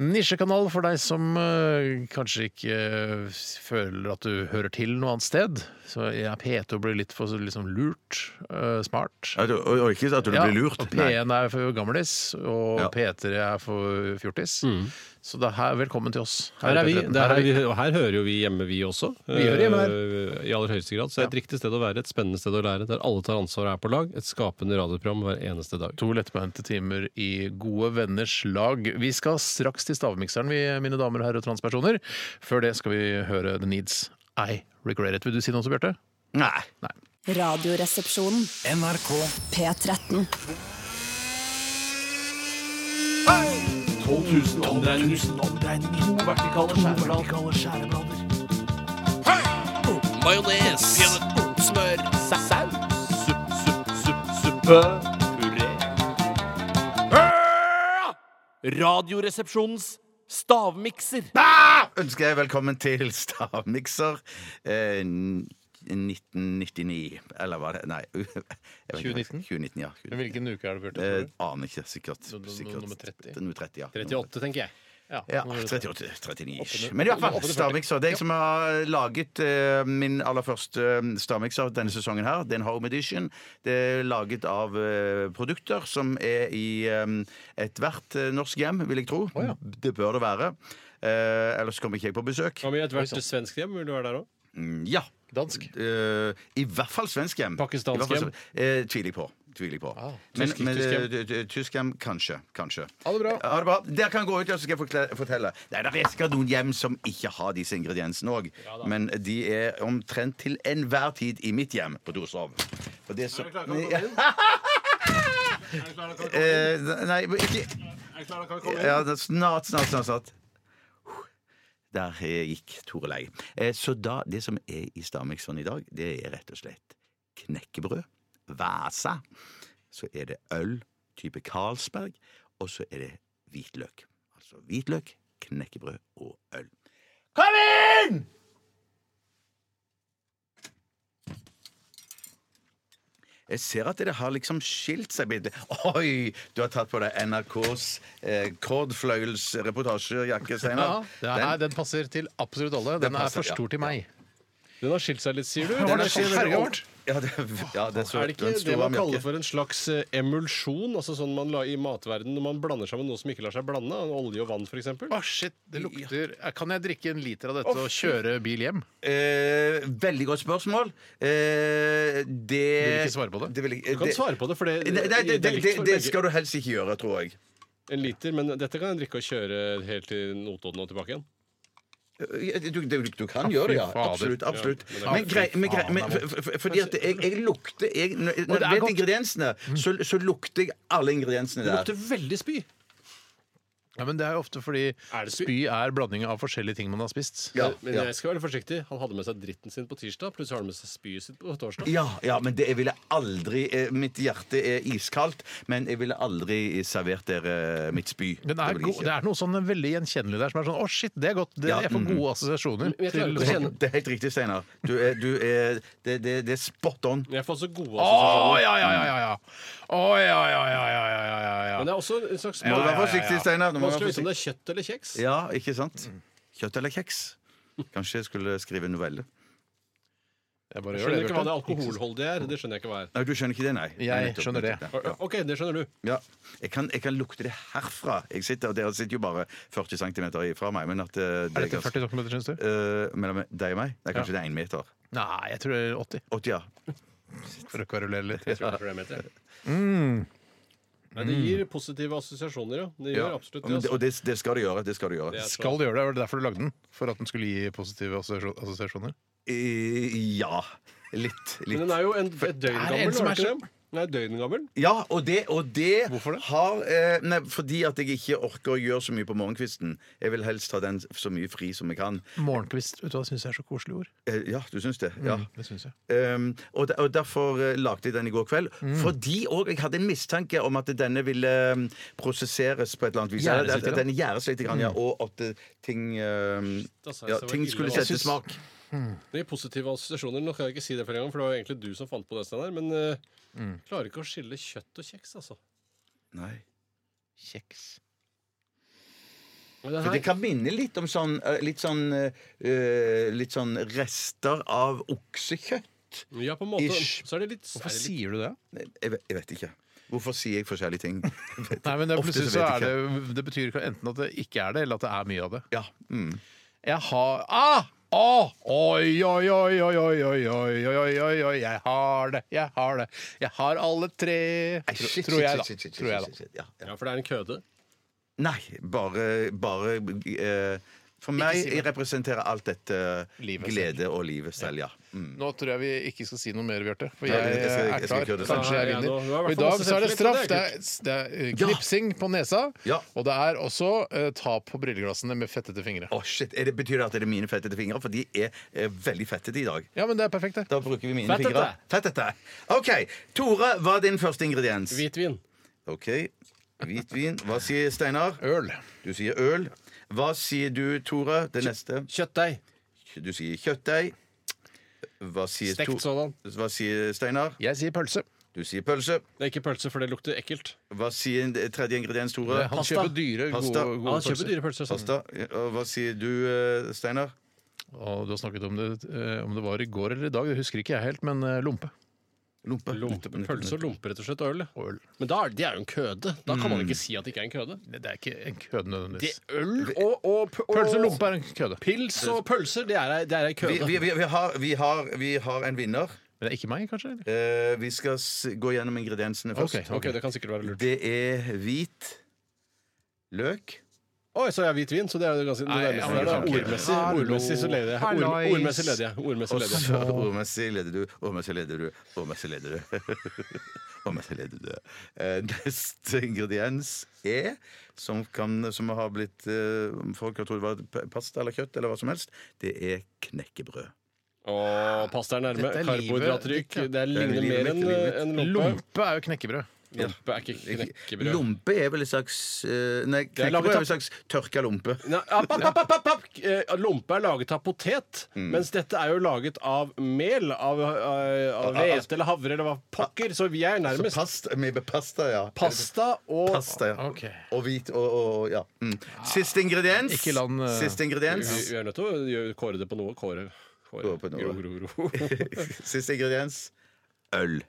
nisjekanal for deg som eh, kanskje ikke eh, føler at du hører til noe annet sted. Så er P2 blir litt for liksom lurt, eh, smart.
Ja, du- Og og ikke at du blir lurt.
og
Nei.
P1 er for gamlis, og
Ja.
P3 er for fjortis. Så det Mm. her, velkommen til oss.
Her er vi.
P13.
Det er her, vi, og her hører jo vi hjemme, vi også.
Vi hører hjemme her.
Eh, I aller høyeste grad. Så det er et riktig sted å være, et spennende sted å lære, der alle tar ansvar og er på lag. Et skapende radioprogram hver eneste dag.
To lettbeinte timer i gode venners lag. Vi skal straks til stavmikseren, vi, mine damer og herrer og transpersoner. Før det skal vi høre The Needs I Regret It. Vil du si noe også, Bjarte?
Nei.
Radioresepsjonen.
NRK
P13.
12 000 omdreininger. To vertikale skjæreblader. Majones. Smør. Saus. Supp, supp, supp, suppe. Puré. Radioresepsjonens stavmikser.
Ah! Ønsker jeg velkommen til Stavmikser eh, n- 1999. Eller var det Nei. [LAUGHS] jeg vet ikke.
2019?
2019, ja. 2019.
Hvilken uke er det, Bjarte?
Eh, aner ikke. Sikkert.
Nummer-
sikkert.
nummer 30?
Nummer 30 ja.
38, tenker jeg.
Ja, 38, 39 ish. Men i hvert fall, stavmikser. Det er jeg som har laget eh, min aller første eh, stavmikser denne sesongen her. Det er en home edition. Det er laget av eh, produkter som er i eh, ethvert eh, norsk hjem, vil jeg tro. Det bør det være. Eh, ellers kommer ikke jeg på besøk.
Hva med ethvert svensk hjem? Vil du være der òg?
Mm, Ja.
Dansk.
Eh, I hvert fall svensk hjem.
Pakistansk
I hvert fall
hjem. Ah,
sven- Eh, tviler jeg på. Tviler jeg på. men
Tysk-
men
tysk
eh,
hjem.
t- t- tysk hjem, kanskje. kanskje. Eh,
Ha det bra.
Ha det bra. Dere kan gå ut, og så skal jeg forkle- fortelle. Nei, Det er sikkert noen hjem som ikke har disse ingrediensene òg. men de er omtrent til enhver tid i mitt hjem på Torshov. Og det som- [LAUGHS] Eh, Nei, men ikke ja, det er snart, snart, snart, snart. Der eh, gikk Tore lei. Eh, Så da, det som er i Stavmikseren i dag, det er rett og slett knekkebrød, væsa, så er det øl type Carlsberg, og så er det hvitløk. Altså hvitløk, knekkebrød og øl. Kom inn! Jeg ser at det har liksom skilt seg bitte Oi! Du har tatt på deg NRKs eh, Kordfløyels reportasjejakke,
Ja,
Steinar.
det er, den passer til absolutt alle. Den, er
passer,
for stor
ja.
til meg.
Den har skilt seg litt, sier du?
Den
er
er så
skilt-
herga vårt.
Ja, det, ja, det er så
Er det ikke
en stor
det man
varm jakke.
kaller for en slags eh, emulsjon? Altså sånn man la i matverden når man blander sammen noe som ikke lar seg blande? Olje og vann, f.eks.?
Å, shit, det lukter Kan jeg drikke en liter av dette og kjøre bil hjem?
Eh, veldig godt spørsmål. Eh, det
Vil ikke svare på det?
det vil ikke-
Du kan
det-
svare på det, for det,
Nei, nei, det,
det
det,
er likt
det,
for
det
begge.
skal du helst ikke gjøre, tror jeg.
En liter, men dette kan jeg drikke og kjøre helt til Notodden og tilbake igjen.
Du, du, du kan gjøre det, ja.
fader.
Absolutt. absolutt.
Ja,
Men, grei, men, grei, men f- f- f- fordi at jeg, jeg lukter jeg, Når når jeg vet ingrediensene, så, så lukter jeg alle ingrediensene
Det
der.
lukter veldig spy.
Ja, men Det er jo ofte fordi
Er det spy?
spy er blanding av forskjellige ting man har spist.
Ja,
Men
ja.
jeg skal være litt forsiktig. Han hadde med seg dritten sin på tirsdag, pluss har han med seg spyet sitt på torsdag.
Ja, ja, men det, jeg ville aldri eh, Mitt hjerte er iskaldt, men jeg ville aldri servert dere eh, mitt spy.
Den er
Det vil jeg
god,
ikke.
det er noe sånn veldig gjenkjennelig der som er sånn Å, shit, det er godt. Det,
Ja,
jeg får
mm.
gode assosiasjoner. til-
jeg klarer
sånn,
ikke å kjenne-
Det er helt riktig, Steinar. Du er, du er, det, det, det er spot on.
Jeg får også gode
Å,
assosiasjoner.
ja, ja, ja, ja, ja. Å, ja, ja, ja, ja, ja, ja, ja, ja.
Men det er også en slags
Må du
smak.
være forsiktig, Steinar. Du må være
Vanskelig å vite
forsiktig.
om det er kjøtt eller kjeks.
Ja,
Mm.
ikke sant? Kjøtt eller kjeks? Kanskje jeg skulle skrive en novelle.
Jeg bare
Jeg
gjør
skjønner
det.
ikke hva det
Bjarte.
alkoholholdige er. Det skjønner jeg ikke hva er.
Nei, du skjønner ikke det, nei?
Jeg
Nei, nettopp,
skjønner det.
nettopp, ja.
OK, det skjønner du.
Ja. Jeg kan, jeg kan lukte det herfra. Jeg sitter, og Dere sitter jo bare 40 cm fra meg. Men at eh,
Er dette
jeg-
40 cm, syns du?
Eh, mellom deg og meg? Nei, kanskje det er én meter.
Nei, jeg tror det er 80.
80, ja.
For å kverulere litt.
Jeg tror det er flere meter.
Mm.
Nei, det gir positive assosiasjoner, ja. Det gjør
Ja.
absolutt
Men det.
det. Altså.
Og det, det skal du gjøre. Det skal du gjøre.
Det er så-
Skal du gjøre det? Var det derfor du lagde den? For at den skulle gi positive assosiasjon- assosiasjoner?
Eh, ja. Litt.
Men
litt.
den er jo en, et døgn
en
gammel.
som
er
er
den
så-
ikke det? Den er et døgn gammel.
Ja, og det, og det,
Hvorfor det?
har eh, Nei, fordi at jeg ikke orker å gjøre så mye på morgenkvisten. Jeg vil helst ha den så mye fri som jeg kan.
Morgenkvist vet du hva, syns jeg er så koselig ord.
Eh, ja, du syns det? Ja.
Mm, Det syns jeg.
Um, og, de, og Derfor eh, lagde jeg den i går kveld. Fordi òg jeg hadde en mistanke om at denne ville um, prosesseres på et eller annet vis.
Gjæres
Eller at
litt,
den gjæres litt, grann, ja, og at eh, ting um,
altså,
ja,
det var
Ting
ille
skulle
valgt.
sette smak.
Det gir positive assosiasjoner. Nå kan jeg ikke si det flere ganger, for det var jo egentlig du som fant på det. Steinar, Men eh,
Mm.
klarer ikke å skille kjøtt og kjeks, altså.
Nei.
Kjeks.
Men det
For
her,
det kan minne litt om sånn eh, Litt sånn, eh, litt sånn rester av oksekjøtt.
ja, på en måte.
Ish.
Så er det litt, er
Hvorfor
det litt
sier du det?
Jeg, vet- jeg vet ikke. Hvorfor sier jeg forskjellige ting?
[LAUGHS] Nei, men det,
Ofte så
plutselig så
vet
er
jeg
det Det betyr ikke- enten at det ikke er det, eller at det er mye av det.
Ja. Mm.
Jeg har ah! Ah! Oi, oi, oi, oi, oi, oi, oi, oi, oi, oi, oi, jeg har det, jeg har det. Jeg har alle tre
Nei,
Tro-
shit,
Tror jeg,
shit,
da.
shit, shit, shit,
Tror jeg, da.
shit, shit, ja, ja.
Ja, for det er en køde.
Nei, bare, bare eh, For meg
si det.
representerer alt dette
Livet
glede og livet selv, ja. Mm.
Nå tror jeg vi ikke skal si noe mer, Bjarte. For
Nei,
jeg,
jeg skal- jeg
er
skal
klar.
ikke gjøre det selv.
Kanskje jeg
Ja, ja, nå-
vinner.
nå er det i hvert
Og I
fall
dag
masse
så er det straff.
selvtillit, og
Det
det er
er, det er eh,
Ja.
knipsing på nesa,
Ja.
og det er også eh, tap på brilleglassene med fettete fingre.
Å, shit, er det, Betyr det at det er mine fettete fingre? For de er, eh, veldig fettete i dag.
Ja, men det er perfekt, det.
Da bruker vi mine
Fettete.
fingre. Fettete! OK. Tore, hva er din første ingrediens?
Hvitvin.
OK. Hvitvin. Hva sier Steinar?
Øl.
Du sier øl. Hva sier du, Tore? Det neste?
Kjøttdeig.
Du sier kjøttdeig. Hva sier,
Stekt
To-
sådan.
Hva sier Steinar?
Jeg sier pølse.
Du sier pølse.
Det er ikke pølse, for det lukter ekkelt.
Hva sier en- tredje ingrediens, Tore?
Han kjøper dyre,
Pasta.
gode,
Ja,
gode
han kjøper
pølser.
dyre pølser. Sånn.
Pasta. Og hva sier du, eh, Steinar?
Og du har snakket om det, eh, om det var i går eller i dag, det husker ikke jeg helt, men eh, lompe.
Lompe.
Lompe,
Nettopp, nettopp,
pølse
nettopp.
og lompe, rett og slett. og Øl. ja.
Og øl.
Men da er det, det er jo en køde. Da kan man ikke si at Mm. det ikke er en køde.
Det er ikke en køde
Det
nødvendigvis.
øl og, og, p- og
Pølse og lompe er en køde.
Pils og pølser, det er, det er en køde.
Vi, vi, vi, vi, har, vi, har, vi har en vinner.
Men det er ikke meg, kanskje? Eller?
Eh, vi skal s gå gjennom ingrediensene først.
Ok,
Ok, det kan sikkert være lurt.
Det er hvit løk.
Oi, så jeg har hvit vin, så det er jo ganske det
Nei,
nærmeste
ja,
der, da.
ok.
Ordmessig,
Hallo.
ordmessig så leder jeg. Ord,
Hallois.
ordmessig leder jeg. Ordmessig
Og
leder jeg.
så ordmessig leder du, ordmessig leder du, ordmessig leder du. [LAUGHS] Ordmessig leder du. Eh, Neste ingrediens er, som, kan, som har blitt eh, Folk har trodd det var p- pasta eller kjøtt eller hva som helst, det er knekkebrød.
Og pasta er nærme.
Dette er livet
Karbohydrattrykk.
ditt, ja.
Det er
Det er
ligner
livet,
mer enn
livet.
en lompe.
Lompe er jo knekkebrød.
Lompe er ikke knekkebrød.
Lompe er vel et slags eh, Nei,
er laget
knekkebrød er
av-
vel et slags tørka lompe.
Nei, app, app, app, app, app. Eh, Lompe er laget av potet, mens dette er jo laget av mel. Av, eh, av hvete eller havre eller hva pokker. Så vi er
Så
nærmest
pasta, med pasta, ja.
pasta og
Pasta, ja.
Ok.
Og hvit og, og ja. Mm. Siste ingrediens.
Ikke land, eh,
Siste ingrediens.
Vi, vi er nødt til å gjøre- kåre det på noe. Kåre. kåre.
Kåre på noe.
Gro, gro, gro.
[LAUGHS] Siste ingrediens. Øl.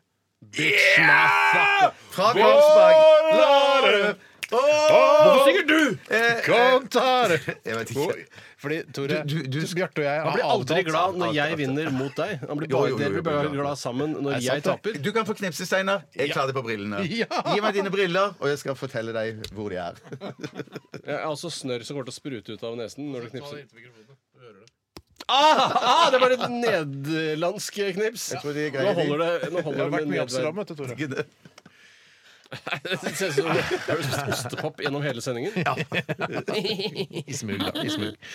Yeah!
Fra Kongsberg. Hvorfor synger du? Eh,
Kom, Tare!
Jeg vet ikke.
Fordi, Tore,
Du- du- du-
Bjarte og jeg
Han blir
har
aldri
avtalt
glad når jeg vinner mot deg. Han blir
Jo,
bare,
jo, jo,
dere
jo,
blir bare
jo, jo.
glad sammen når
Er det
jeg
sant,
taper.
Du kan få knipse, Steinar. Jeg tar det på
[LAUGHS]
brillene.
Ja.
Gi meg dine briller, og jeg skal fortelle deg hvor de er. [LAUGHS]
Jeg er altså snørr som kommer til å sprute ut av nesen når du knipser. Ah, det var et nederlandsk knips.
tror de
Nå
greier de.
holder det, nå
Det
holder
har
det
vært
med
mye Amsterdam,
nedverden.
[LAUGHS]
vet du, Tore.
[LAUGHS] Det ser ut som det høres ut som ostepop gjennom hele sendingen.
I smug, da. I smug.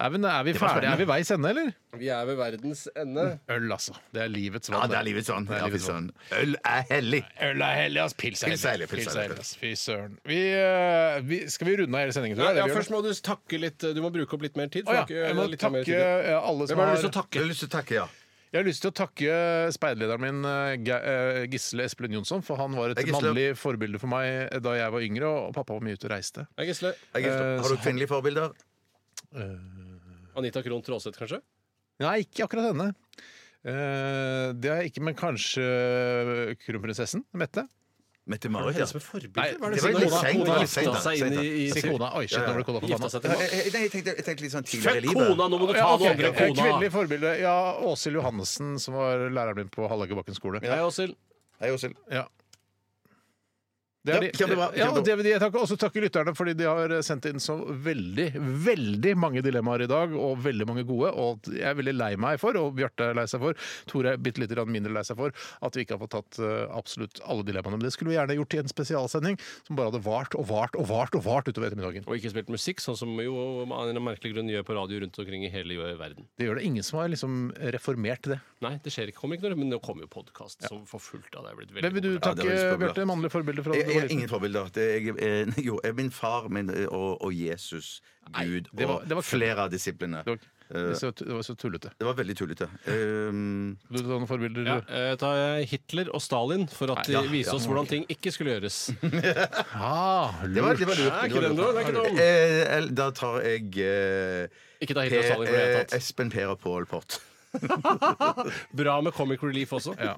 Er vi, er vi ferdige? Er vi veis ende, eller?
Vi er ved verdens ende.
Øl, altså. Det er livets
Ja,
vann.
det er sånn. livets vann.
Det er
Ja, fy
livets vann.
søren. Øl er hellig.
Øl er hellig, ass. Pils er
Pils er
hellig.
hellig, pils er
Pils er
hellig.
hellig, ass. Fy søren. Vi, eh, vi, skal vi runde av hele sendingen, tror jeg?
Ja,
Eller vi gjør
først må du takke litt. eh, Du må bruke opp litt mer
Å
tid. for
ja.
du har
Jeg
ikke-
må
litt sånn mer
takke
tid.
eh, alle som
Hvem er det du har
har
lyst til
Jeg
å takke?
har lyst til å takke, ja.
Jeg har lyst til å takke speiderlederen min, eh, Ge- eh, Gisle Espelund Jonsson, for han var et
Hei, Gisle.
mannlig forbilde for meg eh, da jeg var yngre, og pappa var mye ute og reiste.
Hei, Gisle.
Jeg er stolt.
Eh,
Har du kvinnelige forbilder?
Anita Krohn Traaseth, kanskje?
Nei, ikke akkurat henne. Eh, det har jeg ikke, men kanskje eh, kronprinsessen? Mette?
Mette-Marit, ja.
Forbilde? Hva er
det
det
var litt
Kona-
seint,
Kona
litt seint,
gifta seg
seint,
inn i i
Si
sin
kona. Oi, shit, nå ble kona
Gifta
forbanna.
seg til
Eh,
mannen.
eh, Nei, jeg tenkte, jeg tenkte litt sånn tidligere i
Fuck
livet.
kona! Nå må du ta
Ja,
det
ok.
andre
Eh, Kvinnelig
kona!
forbilde. Ja, Åshild Johannessen, som var læreren min på Hallagerbakken skole.
Hei, Åshild.
Hei, Åshild.
Ja. Det er
Ja, kjempebra,
de, ja, og
kjempebra.
det vil de- jeg takker, også takker lytterne, fordi de har eh, sendt inn så veldig veldig mange dilemmaer i dag, og veldig mange gode. Og jeg er veldig lei meg for, og Bjarte er lei seg for, Tore er bitte litt grann mindre lei seg for, at vi ikke har fått tatt eh, absolutt alle dilemmaene. Men det skulle vi gjerne gjort i en spesialsending som bare hadde vart og vart og vart og vart utover ettermiddagen.
Og ikke spilt musikk, sånn som jo av en merkelig grunn gjør på radio rundt omkring i hele verden.
Det gjør det ingen som har liksom reformert det.
Nei, det skjer ikke, kommer ikke noe, men nå kommer jo podkast som for fullt av det. er blitt veldig
Hvem vil du
populært.
takke,
det var litt
Bjarte?
populært.
Mannlige forbilder fra da
Jeg,
du
jeg
var
har eh,
liten?
ingen forbilder. Det er, jeg, eh, [LAUGHS] jo, eh, min far min, eh, og, og Jesus, Gud
det var- det var
og flere av disiplene.
Det var,
Eh,
det var så- det var så tullete.
Det var veldig tullete. Um,
Du tar noen forbilder?
Ja, eh, ta Hitler og Stalin for at de viste oss hvordan ting ikke skulle gjøres.
Ah,
det var, det var lurt.
Nei,
det var
ikke
lurt.
den, da, det er ikke den.
Eh, el- da tar jeg eh,
Ikke ta Hitler og
per,
Stalin for det
eh,
hele tatt.
Espen Per og Pål Pott.
Bra med Comic Relief også.
Ja.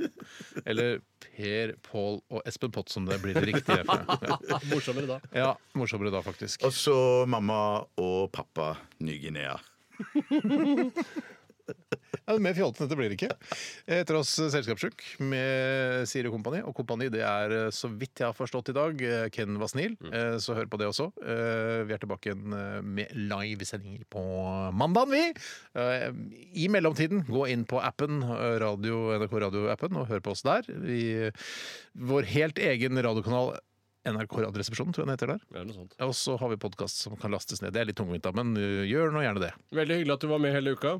Eller Per, Pål og Espen Pott, som det blir det riktige. Ja.
[LAUGHS] Morsommere da.
ja, morsommere da, faktisk.
Og så mamma og pappa Ny-Guinea.
Ja, mer fjollete enn dette blir det ikke. Etter oss eh, Selskapssjuk med Siri og Kompani. Og Kompani det er, eh, så vidt jeg har forstått i dag, eh, Ken Vasnil. Eh, Så hør på det også. Eh, Vi er tilbake igjen eh, med livesendinger på mandagen, vi. Eh, I mellomtiden, gå inn på appen, eh, radio, NRK Radio-appen, og hør på oss der. Vi, vår helt egen radiokanal NRK Radioresepsjonen, tror jeg den heter der.
Det er noe sånt.
Og så har vi podkast som kan lastes ned. Det er litt tungvint, da, men øh, gjør nå gjerne det.
Veldig hyggelig at du var med hele uka.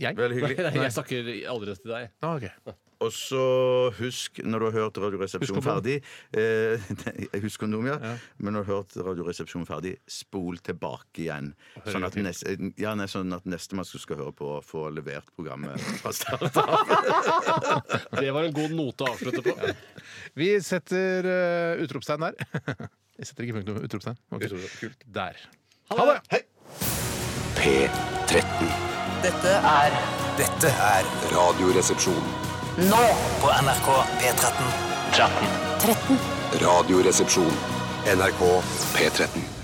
Jeg?
Veldig
Nei,
hyggelig.
nei, [LAUGHS] jeg snakker aldri til deg.
Ah, ok.
Og så husk, når du har hørt Radioresepsjonen
Husk kondom.
ferdig eh, [LAUGHS] nei, Husk kondom, ja. Men når du har hørt Radioresepsjonen ferdig, spol tilbake igjen. Sånn at, neste, ja, nei, sånn at neste man skal høre på, får levert programmet fra start.
Det var en god note å avslutte på.
Vi setter øh, utropstegn der. [LAUGHS] Jeg setter ikke punktum. Utropstegn. Ok. Der. Ha det!
P13.
Dette er
Dette er Radioresepsjonen.
nå på NRK P13. 13.
13.
Radioresepsjon. NRK P13.